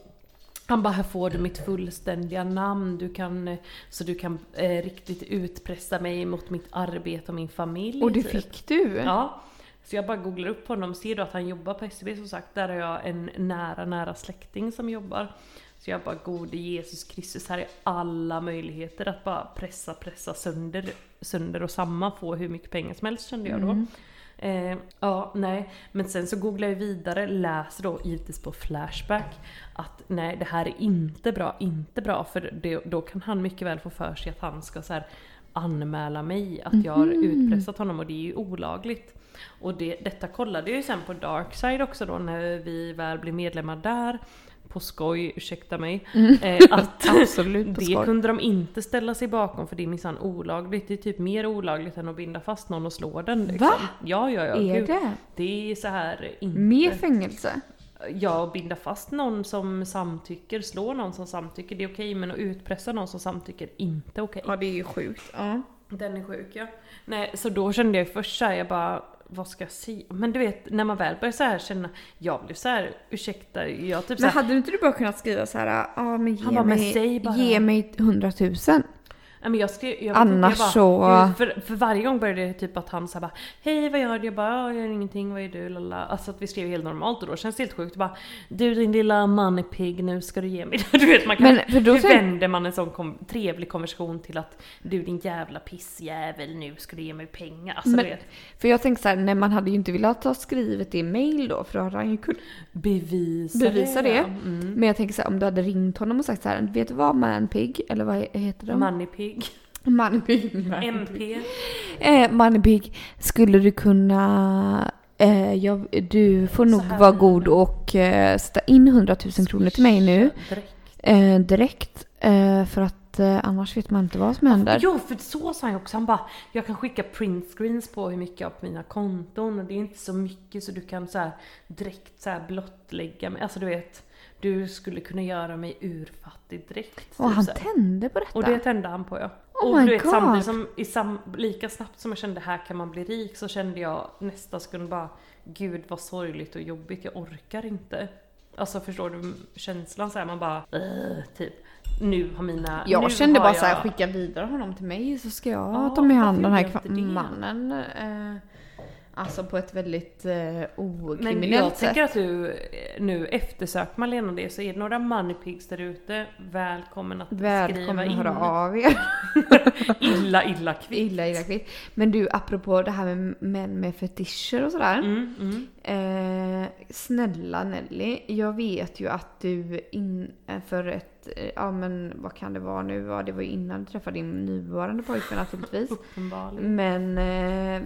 B: han bara, här får du mitt fullständiga namn, du kan, eh, så du kan eh, riktigt utpressa mig mot mitt arbete och min familj.
A: Och det
B: typ.
A: fick du?
B: Ja. Så jag bara googlar upp honom, ser då att han jobbar på SCB som sagt, där har jag en nära, nära släkting som jobbar. Så jag bara, gode Jesus Kristus, här är alla möjligheter att bara pressa, pressa sönder, sönder och samma, få hur mycket pengar som helst kände jag då. Eh, ja, nej. Men sen så googlar jag vidare, läser då givetvis på Flashback att nej, det här är inte bra, inte bra. För det, då kan han mycket väl få för sig att han ska så här anmäla mig, att jag har utpressat honom och det är ju olagligt. Och det, detta kollade jag ju sen på Darkside också då när vi väl blev medlemmar där. På skoj, ursäkta mig. Eh, att
A: Absolut på
B: det
A: skoj.
B: kunde de inte ställa sig bakom för det är minsann olagligt. Det är typ mer olagligt än att binda fast någon och slå den. Liksom.
A: Va?
B: Ja, ja, ja.
A: Är
B: gud. Mm.
A: det?
B: Det är så här inte...
A: Mer fängelse?
B: Ja, att binda fast någon som samtycker, slå någon som samtycker, det är okej. men att utpressa någon som samtycker, inte okej.
A: det är ju sjukt. Ja.
B: Den är sjuk ja. Nej, så då kände jag ju först såhär, jag bara vad ska jag säga? Men du vet, när man väl börjar så här känna, jag blev så här, ursäkta, jag typ så
A: Men
B: här,
A: hade du inte du bara kunnat skriva så här, ja men ge
B: Han bara, men
A: mig,
B: säg bara."
A: ge mig 100 000.
B: Nej, men jag skrev, jag vet
A: Annars
B: inte, jag
A: så-
B: Gud, För, för varje gång började det typ att han så här bara Hej vad gör du? Jag bara "Ja, jag gör ingenting, vad är du? Lala. Alltså att vi skrev helt normalt och då känns det helt sjukt. Bara, du din lilla mannepig, nu ska du ge mig det. Du vet man kan,
A: Men för då
B: hur
A: så-
B: vänder man en sån kom, trevlig konversation till att du din jävla pissjävel, nu ska du ge mig pengar. Alltså
A: Men-
B: du vet,
A: För jag tänkte så här, nej man hade ju inte velat ha skrivit det i mail då för då hade han ju
B: Mm.
A: kunnat
B: bevisa,
A: bevisa det.
B: Mm.
A: Men jag tänker så här, om du hade ringt honom och sagt så här, vet du vad manpig, eller vad he- heter de?
B: Mannepig,
A: manpig.
B: MP.
A: Eh, manpig, skulle du kunna, eh, jag, du får nog
B: här.
A: vara god och eh, sätta in 100 000 kronor till mig nu
B: Direkt.
A: eh, direkt. Eh, för att eh, annars vet man inte vad som händer.
B: Jo, för så sa han ju också. Han bara, jag kan skicka printscreens på hur mycket jag har på mina konton och det är inte så mycket så du kan så här direkt så här blottlägga mig. Alltså du vet, du skulle kunna göra mig urfattig direkt.
A: och
B: typ
A: han
B: så här.
A: tände på detta.
B: och det tände han på ja.
A: Oh
B: och
A: my
B: du vet,
A: God.
B: samtidigt som, i sam, lika snabbt som jag kände här kan man bli rik så kände jag nästa sekund bara, gud vad sorgligt och jobbigt, jag orkar inte. Alltså förstår du känslan så här, man bara, "Ugh", typ. Nu har mina... nu
A: Jag kände
B: har
A: bara så
B: jag-
A: här, skicka vidare honom till mig så ska jag
B: Ja,
A: ta mig
B: varför
A: an den här
B: gjorde jag
A: kva-
B: inte det?
A: mannen. Eh, alltså på ett väldigt eh,
B: Men
A: okriminellt
B: jag
A: sätt.
B: tänker att du eh, nu eftersöker Malena det så är det några moneypigs där ute, välkommen att skriva
A: Välkommen
B: in.
A: att höra av er.
B: Illa illa kvitt.
A: illa, illa kvitt. Men du, apropå det här med män med fetischer och sådär.
B: Mm, mm.
A: Eh, snälla Nelly, jag vet ju att du in, eh, för ett, eh, ja men vad kan det vara nu? Ja, det var ju innan du träffade din nuvarande pojkvän naturligtvis.
B: Uppenbarligen.
A: Men eh,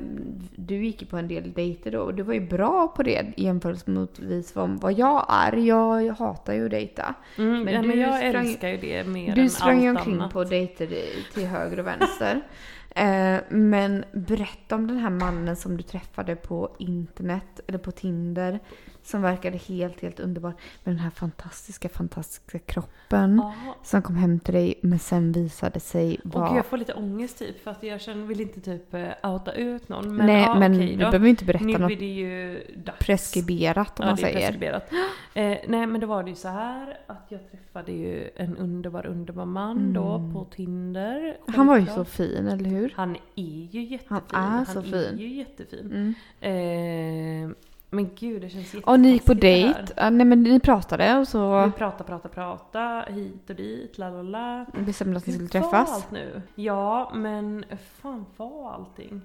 A: du gick ju på en del dejter då och du var ju bra på det i jämförelse mot vis vad- vad jag är. Jag, jag hatar ju att dejta.
B: Mm,
A: Men
B: men, men
A: du
B: jag
A: sprang-
B: älskar ju det mer
A: Du
B: än
A: sprang ju
B: allt
A: omkring
B: annat.
A: på dejter i- till höger och vänster. Eh, men berätta om den här mannen som du träffade på internet eller på Tinder. Som verkade helt, helt underbar. Med den här fantastiska, fantastiska kroppen.
B: Ja.
A: Som kom hem till dig men sen visade sig
B: Och
A: vara...
B: gud, jag får lite ångest typ för att jag känner, vill inte typ eh, outa ut någon. Men,
A: Nej
B: ja,
A: men
B: okej
A: du
B: då.
A: behöver ju inte berätta
B: Nu
A: något
B: är det ju dags.
A: preskriberat om man
B: det är
A: säger.
B: preskriberat. Eh, nej men då var det ju så här att jag träffade ju en underbar, underbar man då på Tinder.
A: Mm. Han var ju
B: Självklart.
A: så fin, eller hur?
B: Han är ju jättefin.
A: Han är så fin.
B: ju jättefin.
A: Mm.
B: Eh, men gud, det känns
A: Och ni gick på
B: jättetaskigt
A: dejt.
B: det Mm.
A: Ja, nej men ni pratade och
B: här. Vi
A: så
B: pratade, pratade, pratade, hit och dit, la la la.
A: bestämde att ni skulle
B: Fan,
A: träffas.
B: allt nu. Ja, men fan var allting?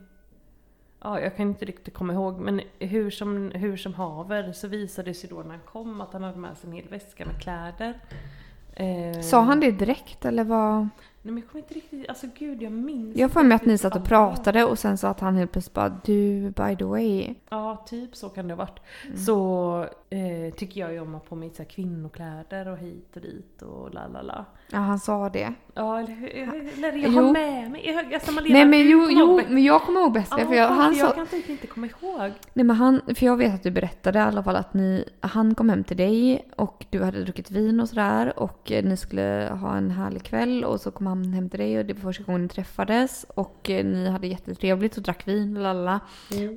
B: Ja, jag kan inte riktigt komma ihåg, men hur som, hur som haver så visade det sig då när han kom att han hade med sig en hel väska med kläder. Eh,
A: Sa han det direkt eller vad?
B: Nej men jag kommer inte riktigt, alltså gud jag minns
A: Jag får med att ni satt och
B: Ja.
A: pratade och sen så att han helt plötsligt bara du by the way.
B: Ja, typ så kan det ha varit.
A: Mm.
B: Så eh, tycker jag ju om att ha på mig så här kvinnokläder och hit och dit och la la la.
A: Ja han sa det.
B: Ja, eller hur? Eller jag har
A: Jo.
B: med mig. Jag- Alltså Malena,
A: Nej men
B: du
A: jo,
B: kommer ihåg
A: jo
B: bättre.
A: men jag kommer ihåg bäst det,
B: Ja,
A: för jag, han
B: jag
A: sa,
B: kan typ inte komma ihåg.
A: nej men han, för jag vet att du berättade i alla fall att ni, han kom hem till dig och du hade druckit vin och sådär och eh, ni skulle ha en härlig kväll och så kom han hem till dig och det var första gången ni träffades och eh, ni hade jättetrevligt och drack vin och lalla.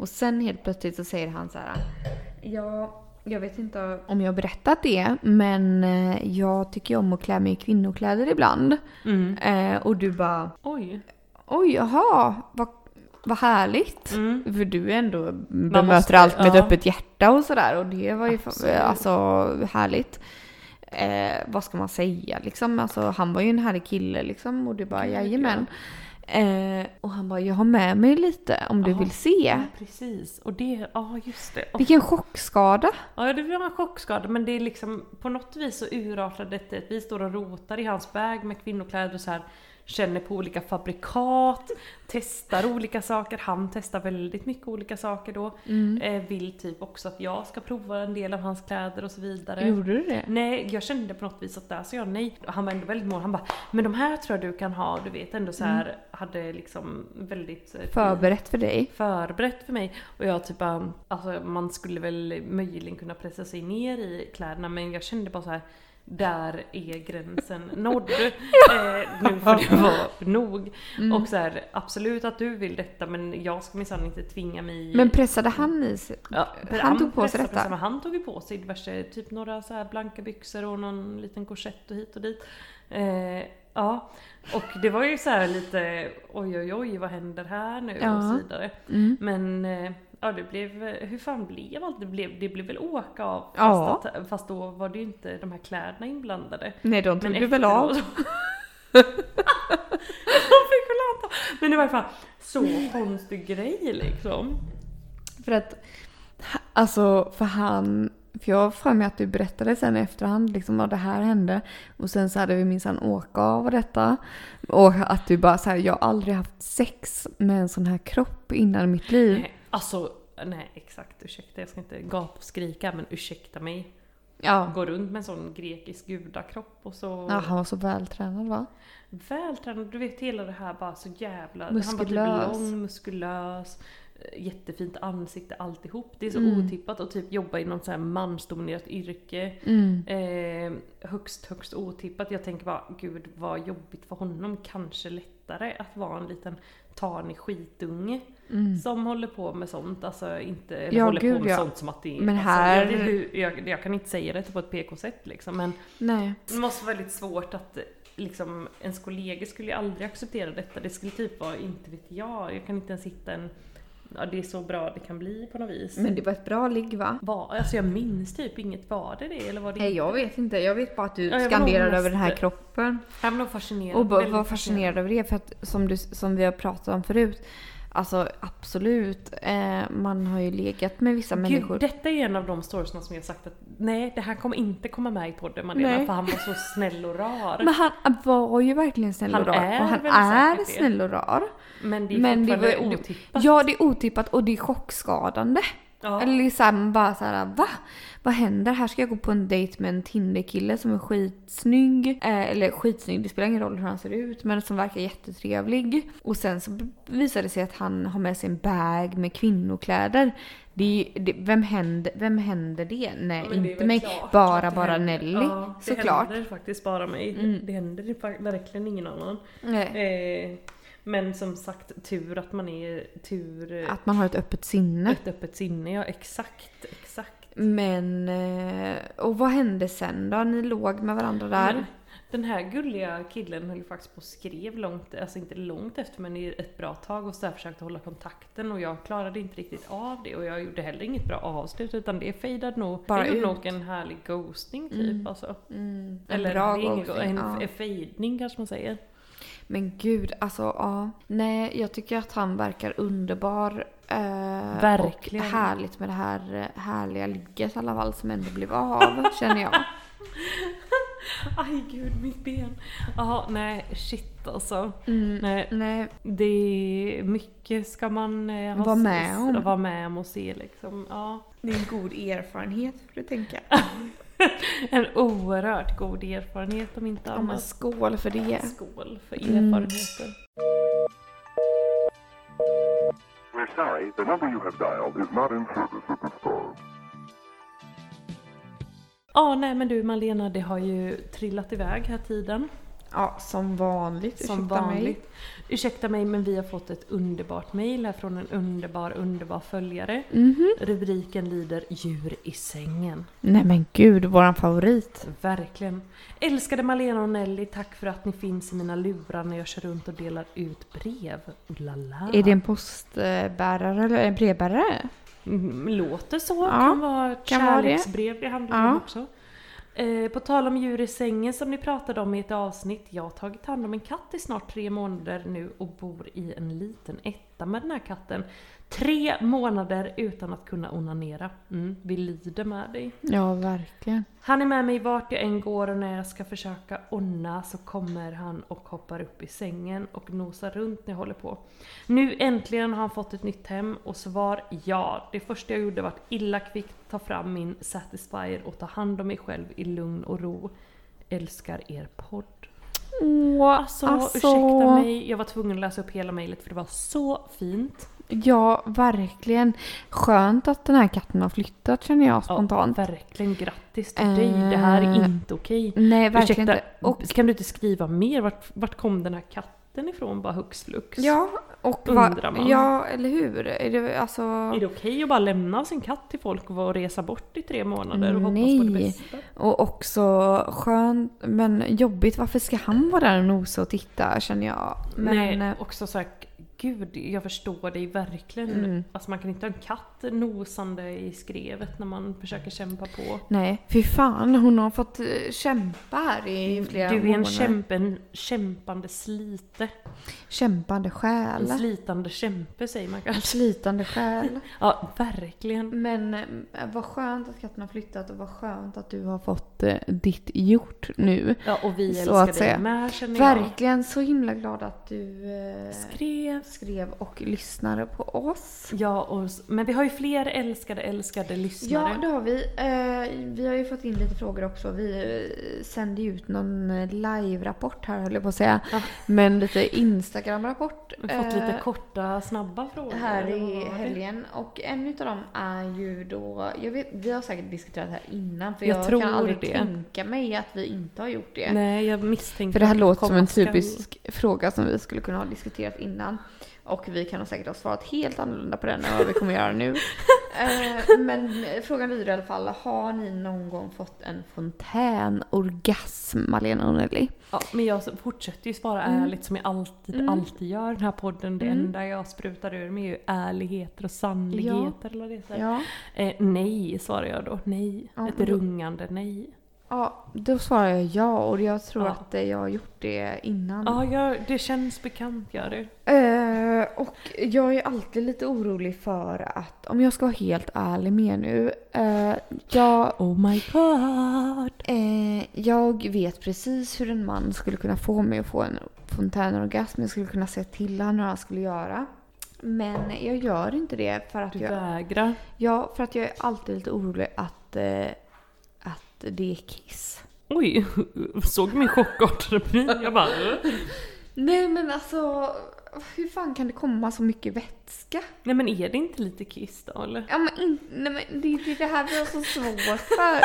A: Och sen helt plötsligt så säger han så här. Ja, jag vet inte om jag har berättat det, men eh, jag tycker ju om att klä mig i kvinnokläder ibland. Eh, och du bara,
B: Mm. Oj.
A: oj jaha, vad, vad härligt.
B: Mm.
A: För du är ändå bemöter
B: måste-
A: allt med
B: ja.
A: ett öppet hjärta och sådär och det var ju fa-
B: Absolut.
A: alltså, härligt. Eh, vad ska man säga liksom? Alltså, han var ju en härlig kille liksom och du bara
B: Gud, ja.
A: jajamän. Eh, och han bara jag har med mig lite om du
B: Ja.
A: vill se.
B: Ja, precis. Och det, ja just det. Och,
A: Vilken chockskada.
B: ja det var en chockskada men det är liksom på något vis så urartade detta. att Vi står och rotar i hans väg med kvinnokläder och så här känner på olika fabrikat, testar olika saker. Han testar väldigt mycket olika saker då.
A: Mm.
B: Eh, vill typ också att jag ska prova en del av hans kläder och så vidare.
A: du det?
B: Nej, Mm. jag kände på något vis att där sa jag nej. Och Han var ändå väldigt mån. Han bara “men de här tror jag du kan ha”. Du vet ändå så här hade liksom väldigt eh,
A: Mm. Förberett för dig.
B: förberett för mig. Och jag typ bara, alltså man skulle väl möjligen kunna pressa sig ner i kläderna men jag kände bara så här. Där är gränsen nådd. eh, nu får det vara nog. Och så här, absolut att du vill detta men jag ska minsann inte tvinga mig.
A: Men pressade han i sig?
B: Ja,
A: Han tog på sig
B: pressade
A: detta.
B: precis, men Han tog ju på sig diverse, typ några så här blanka byxor och någon liten korsett och hit och dit. Eh, ja, och det var ju så här lite oj oj oj vad händer här nu
A: Ja.
B: och så vidare.
A: Mm.
B: Men eh, ja, det blev, hur fan blev allt? Det blev, det blev väl åka av? Fast,
A: Ja.
B: att, fast då var det ju inte de här kläderna inblandade.
A: Nej, de tog
B: Men
A: du väl av?
B: efteråt- De fick väl anta. Men i varje fall, så konstig grej liksom.
A: För att, alltså för han, för jag har för mig att du berättade sen i efterhand liksom vad det här hände. Och sen så hade vi minsann åka av detta. Och att du bara såhär, jag har aldrig haft sex med en sån här kropp innan i mitt liv.
B: Nej, alltså, nej exakt, ursäkta. Jag ska inte gapskrika, men ursäkta mig.
A: Ja.
B: Gå runt med en sån grekisk gudakropp och så
A: ja. Han var så vältränad va?
B: vältränad. Du vet hela det här bara så jävla... Han var
A: Muskulös.
B: typ lång, muskulös, eh, jättefint ansikte, alltihop. Det är så otippat att typ jobba i något så här mansdominerat yrke.
A: Mm.
B: Eh, högst, högst otippat. Jag tänker bara, gud vad jobbigt för honom. Kanske lättare att vara en liten tanig skitunge.
A: Mm.
B: Som håller på med sånt, alltså inte eller
A: Ja,
B: håller på
A: gud,
B: med
A: ja.
B: sånt som att det är...
A: Men
B: alltså,
A: här-
B: jag, det, är ju- jag, jag kan inte säga det på ett PK-sätt liksom men
A: Nej.
B: det måste vara väldigt svårt att eh, liksom, ens kollegor skulle ju aldrig acceptera detta. Det skulle typ vara, inte vet jag, jag kan inte ens hitta en... Ja, det är så bra det kan bli på något vis.
A: Men det var ett bra ligg va?
B: Var, alltså jag minns typ inget, var det det eller var det
A: Nej jag vet inte, jag vet bara att du
B: Ja, jag var nog
A: skanderade över den här
B: mest-
A: kroppen.
B: Jag blev nog fascinerad.
A: Och bara
B: väldigt
A: var fascinerad över det för att som, du, som vi har pratat om förut. Alltså absolut, eh, man har ju legat med vissa människor.
B: Gud, detta är en av de storiesna som jag sagt att nej, det här kommer inte komma med i podden Malena
A: Nej.
B: för han var så snäll och rar. Men,
A: Men han var ju verkligen snäll
B: Han
A: och rar.
B: är
A: och han
B: väl
A: är
B: säkert det.
A: snäll och rar.
B: det är
A: men det
B: fortfarande
A: var-
B: otippat.
A: Ja det är otippat och det är chockskadande.
B: Ja.
A: Eller så här, man bara så här, va? Vad händer? Här ska jag gå på en dejt med en Tinder-kille som är skitsnygg. Eh, eller skitsnygg, det spelar ingen roll hur han ser ut men som verkar jättetrevlig. Och sen så visar det sig att han har med sig en bag med kvinnokläder. Det är, ju- det, vem, händer, vem händer det? Nej,
B: men det är
A: inte
B: väl
A: mig.
B: klart
A: Bara,
B: att det
A: bara
B: händer.
A: Nelly.
B: Ja, det
A: såklart. Mm.
B: händer faktiskt bara mig. Det händer ju fa- verkligen ingen annan.
A: Nej.
B: Eh, men som sagt, tur att man är tur... eh,
A: Att man har ett öppet sinne.
B: Ett öppet sinne, ja exakt, exakt.
A: Men, eh, och vad hände sen då? Ni låg med varandra där?
B: Men Den här gulliga killen höll ju faktiskt på och skrev långt, alltså inte långt efter men i ett bra tag och så där försökte hålla kontakten och jag klarade inte riktigt av det och jag gjorde heller inget bra avslut utan det fejdade nog.
A: Bara
B: jag gjorde
A: ut.
B: nog en härlig ghosting typ alltså.
A: Mm, en
B: Eller
A: bra
B: det är ingen go-
A: ghosting,
B: en
A: ja.
B: ja. fejdning kanske man säger.
A: Men gud, alltså ja. Nej, jag tycker att han verkar underbar. Eh,
B: Verkligen.
A: Och härligt med det här eh, härliga ligget i alla fall som ändå blev av, känner jag.
B: Aj gud, mitt ben. Jaha, nej shit alltså.
A: Mm.
B: Nej,
A: Nej,
B: det är mycket ska man eh, ha
A: Vara med om.
B: vara med om och se liksom. Ja.
D: Det är en god erfarenhet får du tänka.
B: En oerhört god erfarenhet om inte
D: Ja men
B: annat.
D: skål för det.
B: Skål för
A: Mm.
B: erfarenheter.
E: We're sorry, the number you have dialed is not in service at this time.
B: Ja, nej men du Malena, det har ju trillat iväg här tiden.
D: Ja, som vanligt.
B: Som
D: ursäkta mig.
B: vanligt. Ursäkta mig men vi har fått ett underbart mejl här från en underbar, underbar följare. Rubriken lyder Djur i sängen.
A: Nej men gud, våran favorit.
B: Verkligen. Älskade Malena och Nelly, tack för att ni finns i mina lurar när jag kör runt och delar ut brev. Ulala.
A: Är det en postbärare eller en brevbärare?
B: Mm, Låter så.
A: Ja,
B: kan vara ett
A: kan vara det.
B: kärleksbrev det handlar
A: Ja.
B: om också. Eh, på tal om djur i sängen som ni pratade om i ett avsnitt. Jag har tagit hand om en katt i snart tre månader nu och bor i en liten etta med den här katten. Tre månader utan att kunna onanera. Mm, vi lider med dig.
A: Ja, verkligen.
B: Han är med mig vart jag än går och när jag ska försöka onna så kommer han och hoppar upp i sängen och nosar runt när jag håller på. Nu äntligen har han fått ett nytt hem och svar ja. Det första jag gjorde var att illa kvickt ta fram min Satisfyer och ta hand om mig själv i lugn och ro. Älskar er podd.
A: Åh,
B: Alltså, ursäkta mig, jag var tvungen att läsa upp hela mejlet för det var så fint.
A: Ja, verkligen. Skönt att den här katten har flyttat känner jag spontant.
B: Ja, verkligen grattis till dig, det här är
A: Eh,
B: inte okej.
A: Nej, Eh, verkligen
B: Ursäkta,
A: inte. Och,
B: kan du inte skriva mer? Vart, vart kom den här katten ifrån bara hux flux?
A: ja, och
B: Undrar
A: va,
B: man.
A: Ja, eller hur? Är det, alltså,
B: Är det okej att bara lämna sin katt till folk och vara- och resa bort i tre månader och hoppas på det
A: Nej.
B: bästa?
A: Och också skönt, men jobbigt. Varför ska han vara där och nosa och titta känner jag. Men,
B: Nej,
A: eh,
B: också såhär, gud jag förstår dig verkligen.
A: Mm.
B: Alltså man kan inte ha en katt nosande i skrevet när man försöker kämpa på.
A: Nej, fy fan. Hon har fått eh, kämpa här i
B: Mm, Du
A: flera
B: är en,
A: månader.
B: kämpe, en kämpande slite.
A: kämpande
B: En
A: själ.
B: slitande kämpe säger man
A: En
B: kanske.
A: slitande själ.
B: Ja, verkligen.
A: Men eh, vad skönt att katten har flyttat och vad skönt att du har fått eh, ditt gjort nu.
B: Ja, och vi
A: Så
B: älskar
A: att
B: dig
A: säga.
B: med känner jag.
A: Verkligen så himla glad att du eh,
B: Skrev
A: skrev och lyssnade på oss.
B: Ja, och, s- men vi har ju fler älskade, älskade lyssnare.
A: Ja, det har vi. Eh, vi har ju fått in lite frågor också. Vi eh, sände ju ut någon eh, live-rapport här höll jag på att säga.
B: Ja.
A: Men lite Instagram-rapport.
B: Vi har fått
A: eh,
B: lite korta, snabba frågor.
A: här
B: eller vad
A: i
B: var det?
A: helgen. Och en utav dem är ju då... Jag vet, vi har säkert diskuterat det här innan för
B: Jag
A: jag,
B: tror
A: kan aldrig
B: det.
A: tänka mig att vi inte har gjort det.
B: Nej, jag misstänkte
A: För det här
B: att
A: låter som
B: komma
A: en
B: skall.
A: typisk fråga som vi skulle kunna ha diskuterat innan. Och vi kan ha säkert ha svarat helt annorlunda på den än vad vi kommer göra nu. Eh, Men frågan lyder i alla fall, har ni någon gång fått en fontänorgasm, Malena och Nelly?
B: Ja, men jag s- fortsätter ju svara
A: Mm.
B: ärligt som jag alltid, alltid gör i den här podden. Det enda jag sprutar ur mig är ju ärligheter och sannligheter. Eller vad det heter.
A: Ja.
B: Eh, nej, svarar jag då. Nej.
A: Ja,
B: Ett
A: men då-
B: rungande nej.
A: ja, då svarar jag ja och jag tror
B: Ja.
A: att eh, jag har gjort det innan.
B: Ja, jag, det känns bekant gör det.
A: Eh, och jag är alltid lite orolig för att, om jag ska vara helt ärlig med er nu, eh, jag
B: Oh my god!
A: Eh, jag vet precis hur en man skulle kunna få mig att få en fontänorgasm. Jag skulle kunna säga till honom hur han skulle göra. Men jag gör inte det för att,
B: Du
A: jag,
B: vägrar.
A: ja, för att jag är alltid lite orolig att, eh, att det är kiss.
B: Oj, såg min chockartade min. Jag bara... "Äh."
A: Nej men alltså, hur fan kan det komma så mycket vätska?
B: Nej men är det inte lite kiss då eller?
A: Ja, men in, nej, men det, det är det här vi har så svårt för.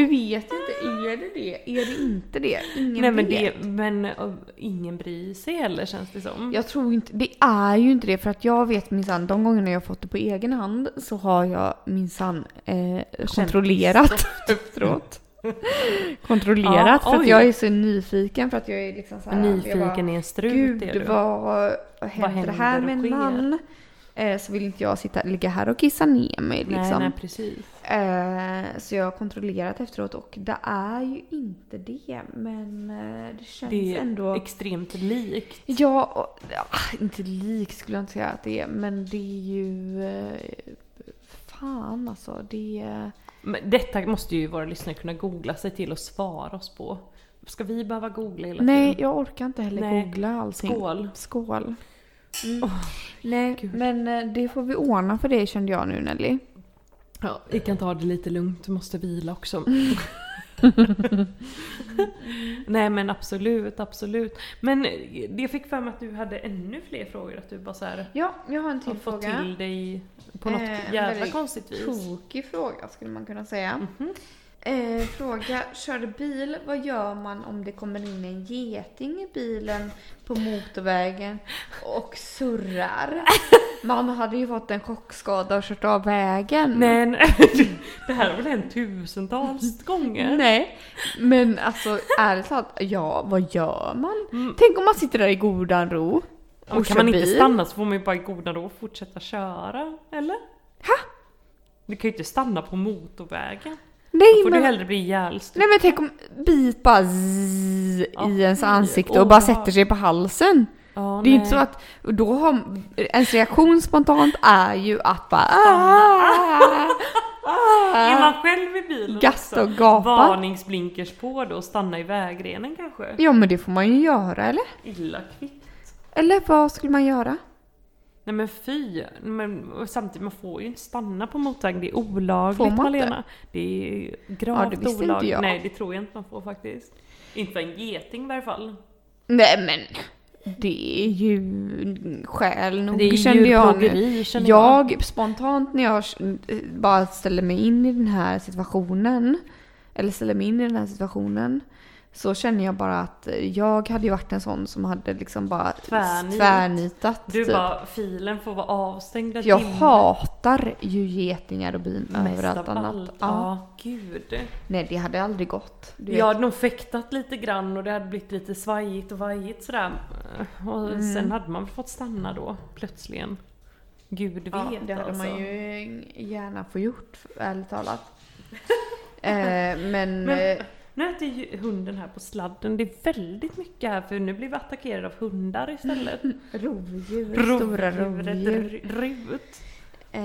A: Vi vet inte, är det det? Är det inte det? Ingen
B: Nej men,
A: vet.
B: det, men eh, ingen bryr sig heller känns det som.
A: Jag tror inte, det är ju inte det för att jag vet minsann, de gångerna jag fått det på egen hand så har jag minsann eh, kontrollerat efteråt. kontrollerat
B: Ja,
A: för att
B: oj.
A: jag är så nyfiken för att jag är liksom såhär. jag bara,
B: Nyfiken i en strut är
A: Gud
B: du.
A: vad händer det här med
B: händer
A: en
B: och sker?"
A: man? Eh, så vill inte jag sitta, ligga här och kissa ner
B: Nej
A: mig liksom.
B: nej precis.
A: Eh, så jag har kontrollerat efteråt och det är ju inte det men eh, det känns
B: Det är
A: ändå...
B: extremt likt.
A: Ja, och, ah, inte lik skulle jag inte säga att det är, men det är ju... Eh, fan alltså, det är...
B: Men detta måste ju våra lyssnare kunna googla sig till och svara oss på. Ska vi behöva googla hela
F: Nej,
B: tiden?
F: jag orkar inte heller
B: Nej.
F: googla allting.
B: Skål!
F: Mm. Skål. Mm. Nej, men eh, det får vi ordna för dig kände jag nu Nelly.
B: Ja, vi kan ta det lite lugnt, du måste vila också. Nej men absolut, absolut. Men eh, jag fick för mig att du hade ännu fler frågor, att du bara så här
A: Ja, jag har en
B: har
A: till
B: fått
A: fråga.
B: till dig på något
A: Eh,
B: jävla
A: väldigt
B: konstigt vis.
A: Tokig fråga skulle man kunna säga.
B: Mhm.
A: Eh, fråga, körde bil, vad gör man om det kommer in en geting i bilen på motorvägen och surrar? Man hade ju fått en chockskada och kört av vägen.
B: Nej, nej. det här har väl hänt
A: Mm.
B: tusentals gånger?
A: Nej, men alltså ärligt talat, ja vad gör man? Tänk om man sitter där i godan ro
B: Mm. Ja, men
A: och
B: kan
A: kör
B: man inte
A: bil.
B: stanna så får man ju bara i goda ro fortsätta köra, eller? Ha? Du kan ju inte stanna på motorvägen. Då
A: Nej
B: får du
A: men,
B: hellre bli ihjälstucken.
A: nej men tänk om bit bara zzz
B: Ja,
A: i ens
B: fy.
A: ansikte
B: Åh,
A: och bara
B: vad-
A: sätter sig på halsen.
B: Ja,
A: Det är ju
B: nej.
A: inte så att, och då har, ens reaktion spontant är ju att bara "Ah,
B: Är
A: ah,
B: man själv i bilen
A: gasta och
B: också?
A: gapa.
B: Varningsblinkers på då och stanna i vägrenen kanske?
A: Ja men det får man ju göra eller?
B: Illa kvickt.
A: Eller vad skulle man göra?
B: Nej men fy! Men och samtidigt, man får ju inte stanna på motorvägen. Det är olagligt
A: Får man inte?
B: Malena. Det är gravt
A: Ja, det visste inte
B: olagligt.
A: jag.
B: Nej det tror jag inte man får faktiskt. Inte för en geting i varje fall.
A: Nej men, det är ju skäl nog kände jag nu.
B: känner jag.
A: Jag spontant när jag eh, bara ställer mig in i den här situationen, eller ställer mig in i den här situationen, så känner jag bara att eh, jag hade ju varit en sån som hade liksom bara
B: Tvärnit.
A: tvärnitat.
B: Du
A: typ.
B: bara, filen får vara avstängd en
A: jag
B: timme.
A: hatar ju getingar och bin
B: Mest
A: överallt
B: av
A: annat.
B: allt.
A: Ja.
B: Ja, gud.
A: Nej, det hade aldrig gått. Du
B: Jag
A: vet.
B: hade nog fäktat lite grann och det hade blivit lite svajigt och vajigt sådär. Och
A: Mm.
B: sen hade man fått stanna då, plötsligen. Gud vet
A: Ja, det hade
B: alltså.
A: man ju gärna få gjort, ärligt talat. eh, men...
B: Men-
A: eh,
B: Nu äter ju hunden här på sladden. Det är väldigt mycket här för nu blir vi attackerade av hundar istället.
A: Rovdjur, stora rovdjur.
B: Rut.
A: Eh,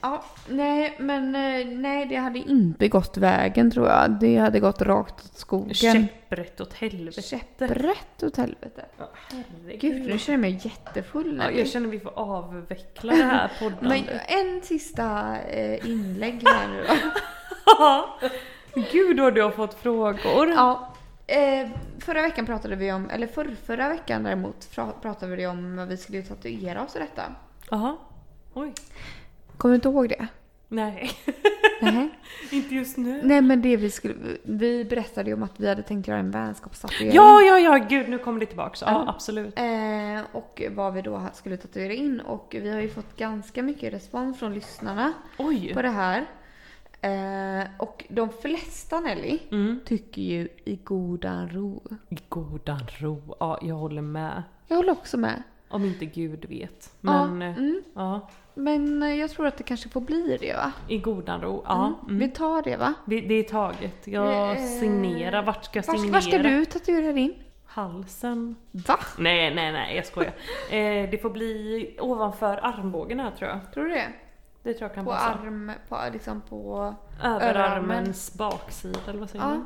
A: ja, nej, men eh, nej, det hade inte gått vägen tror jag. Det hade gått rakt åt skogen.
B: Käpprätt åt helvete.
A: Käpprätt åt helvete.
B: Ja, herregud.
A: Gud, nu känner jag mig jättefull.
B: ja,
A: Nelly.
B: jag känner att vi får avveckla det här
A: men
B: poddandet.
A: en sista eh, inlägg här nu då.
B: Gud vad du har fått frågor.
A: Ja, eh, förra veckan pratade vi om, eller förr, förra veckan däremot fra- pratade vi om vad vi skulle tatuera oss och detta.
B: Jaha. Oj.
A: Kommer du inte ihåg det?
B: Nej,
A: Nej.
B: inte just nu.
A: Nej men det vi skulle, vi berättade ju om att vi hade tänkt göra en vänskapstatuering.
B: Ja, ja, ja, gud nu kommer det tillbaks. Ja, absolut.
A: Eh, och vad vi då skulle tatuera in. Och vi har ju fått ganska mycket respons från lyssnarna
B: Oj.
A: på det här. Eh, och de flesta Nelly
B: Mm.
A: tycker ju i godan ro.
B: I godan ro. Ja, jag håller med.
A: Jag håller också med.
B: Om inte gud vet. Men, eh,
A: ja,
B: ja.
A: mm,
B: ja.
A: men eh, jag tror att det kanske får bli det va?
B: I godan ro. Ja.
A: Mm. Vi tar det va?
B: Det, det är taget. Jag
A: Eh,
B: signerar. Vart ska jag
A: Var,
B: signera?
A: var ska du tatuera din?
B: Halsen.
A: Va?
B: Nej, nej, nej, jag skojar. eh, det får bli ovanför armbågen här tror jag.
A: Tror du det?
B: Det tror jag kan
A: På
B: passa.
A: arm, på, liksom på...
B: Överarmens baksida, eller vad säger
A: Ja.
B: man?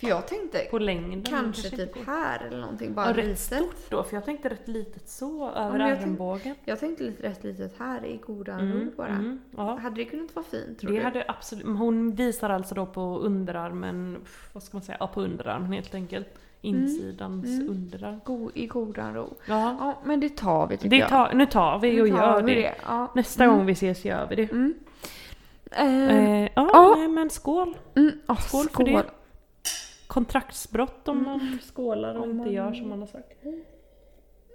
A: För jag tänkte
B: På längden.
A: kanske
B: inte
A: typ
B: går.
A: här eller någonting.
B: Ja,
A: Bara
B: rätt
A: lite.
B: stort då, för jag tänkte rätt litet så över
A: men jag tänkte-
B: armbågen.
A: Jag tänkte lite rätt litet här i godan ro bara.
B: mm, ja.
A: Hade det kunnat vara fint tror
B: Det
A: du?
B: hade absolut, men hon visar alltså då på underarmen, pff, vad ska man säga, ja, på underarmen helt enkelt.
A: Mm,
B: Insidans underarm.
A: Go, I godan ro.
B: Ja.
A: Ja men det tar vi tycker
B: Det
A: jag.
B: tar, nu tar vi och
A: Nu tar
B: gör
A: vi Mm.
B: det.
A: Ja. Mm.
B: Nästa gång vi ses gör vi det.
A: Eh,
B: Eh, ja,
A: Ja.
B: Nej, men skål.
A: mm, åh,
B: skål
A: skål
B: för det. Kontraktsbrott
A: Mm.
B: om man skålar och inte gör som man har sagt.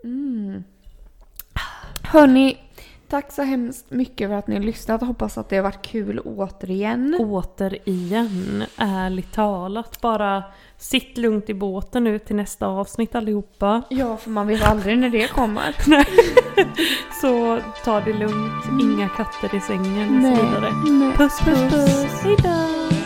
A: Mm. Hörni, tack så hemskt mycket för att ni har lyssnat. Hoppas att det har varit kul återigen.
B: Återigen, ärligt talat. Bara sitt lugnt i båten nu till nästa avsnitt allihopa.
A: Ja för man vet aldrig när det kommer.
B: Så ta det lugnt, inga katter i sängen och
A: Nej,
B: så vidare. Puss puss puss! Hejdå!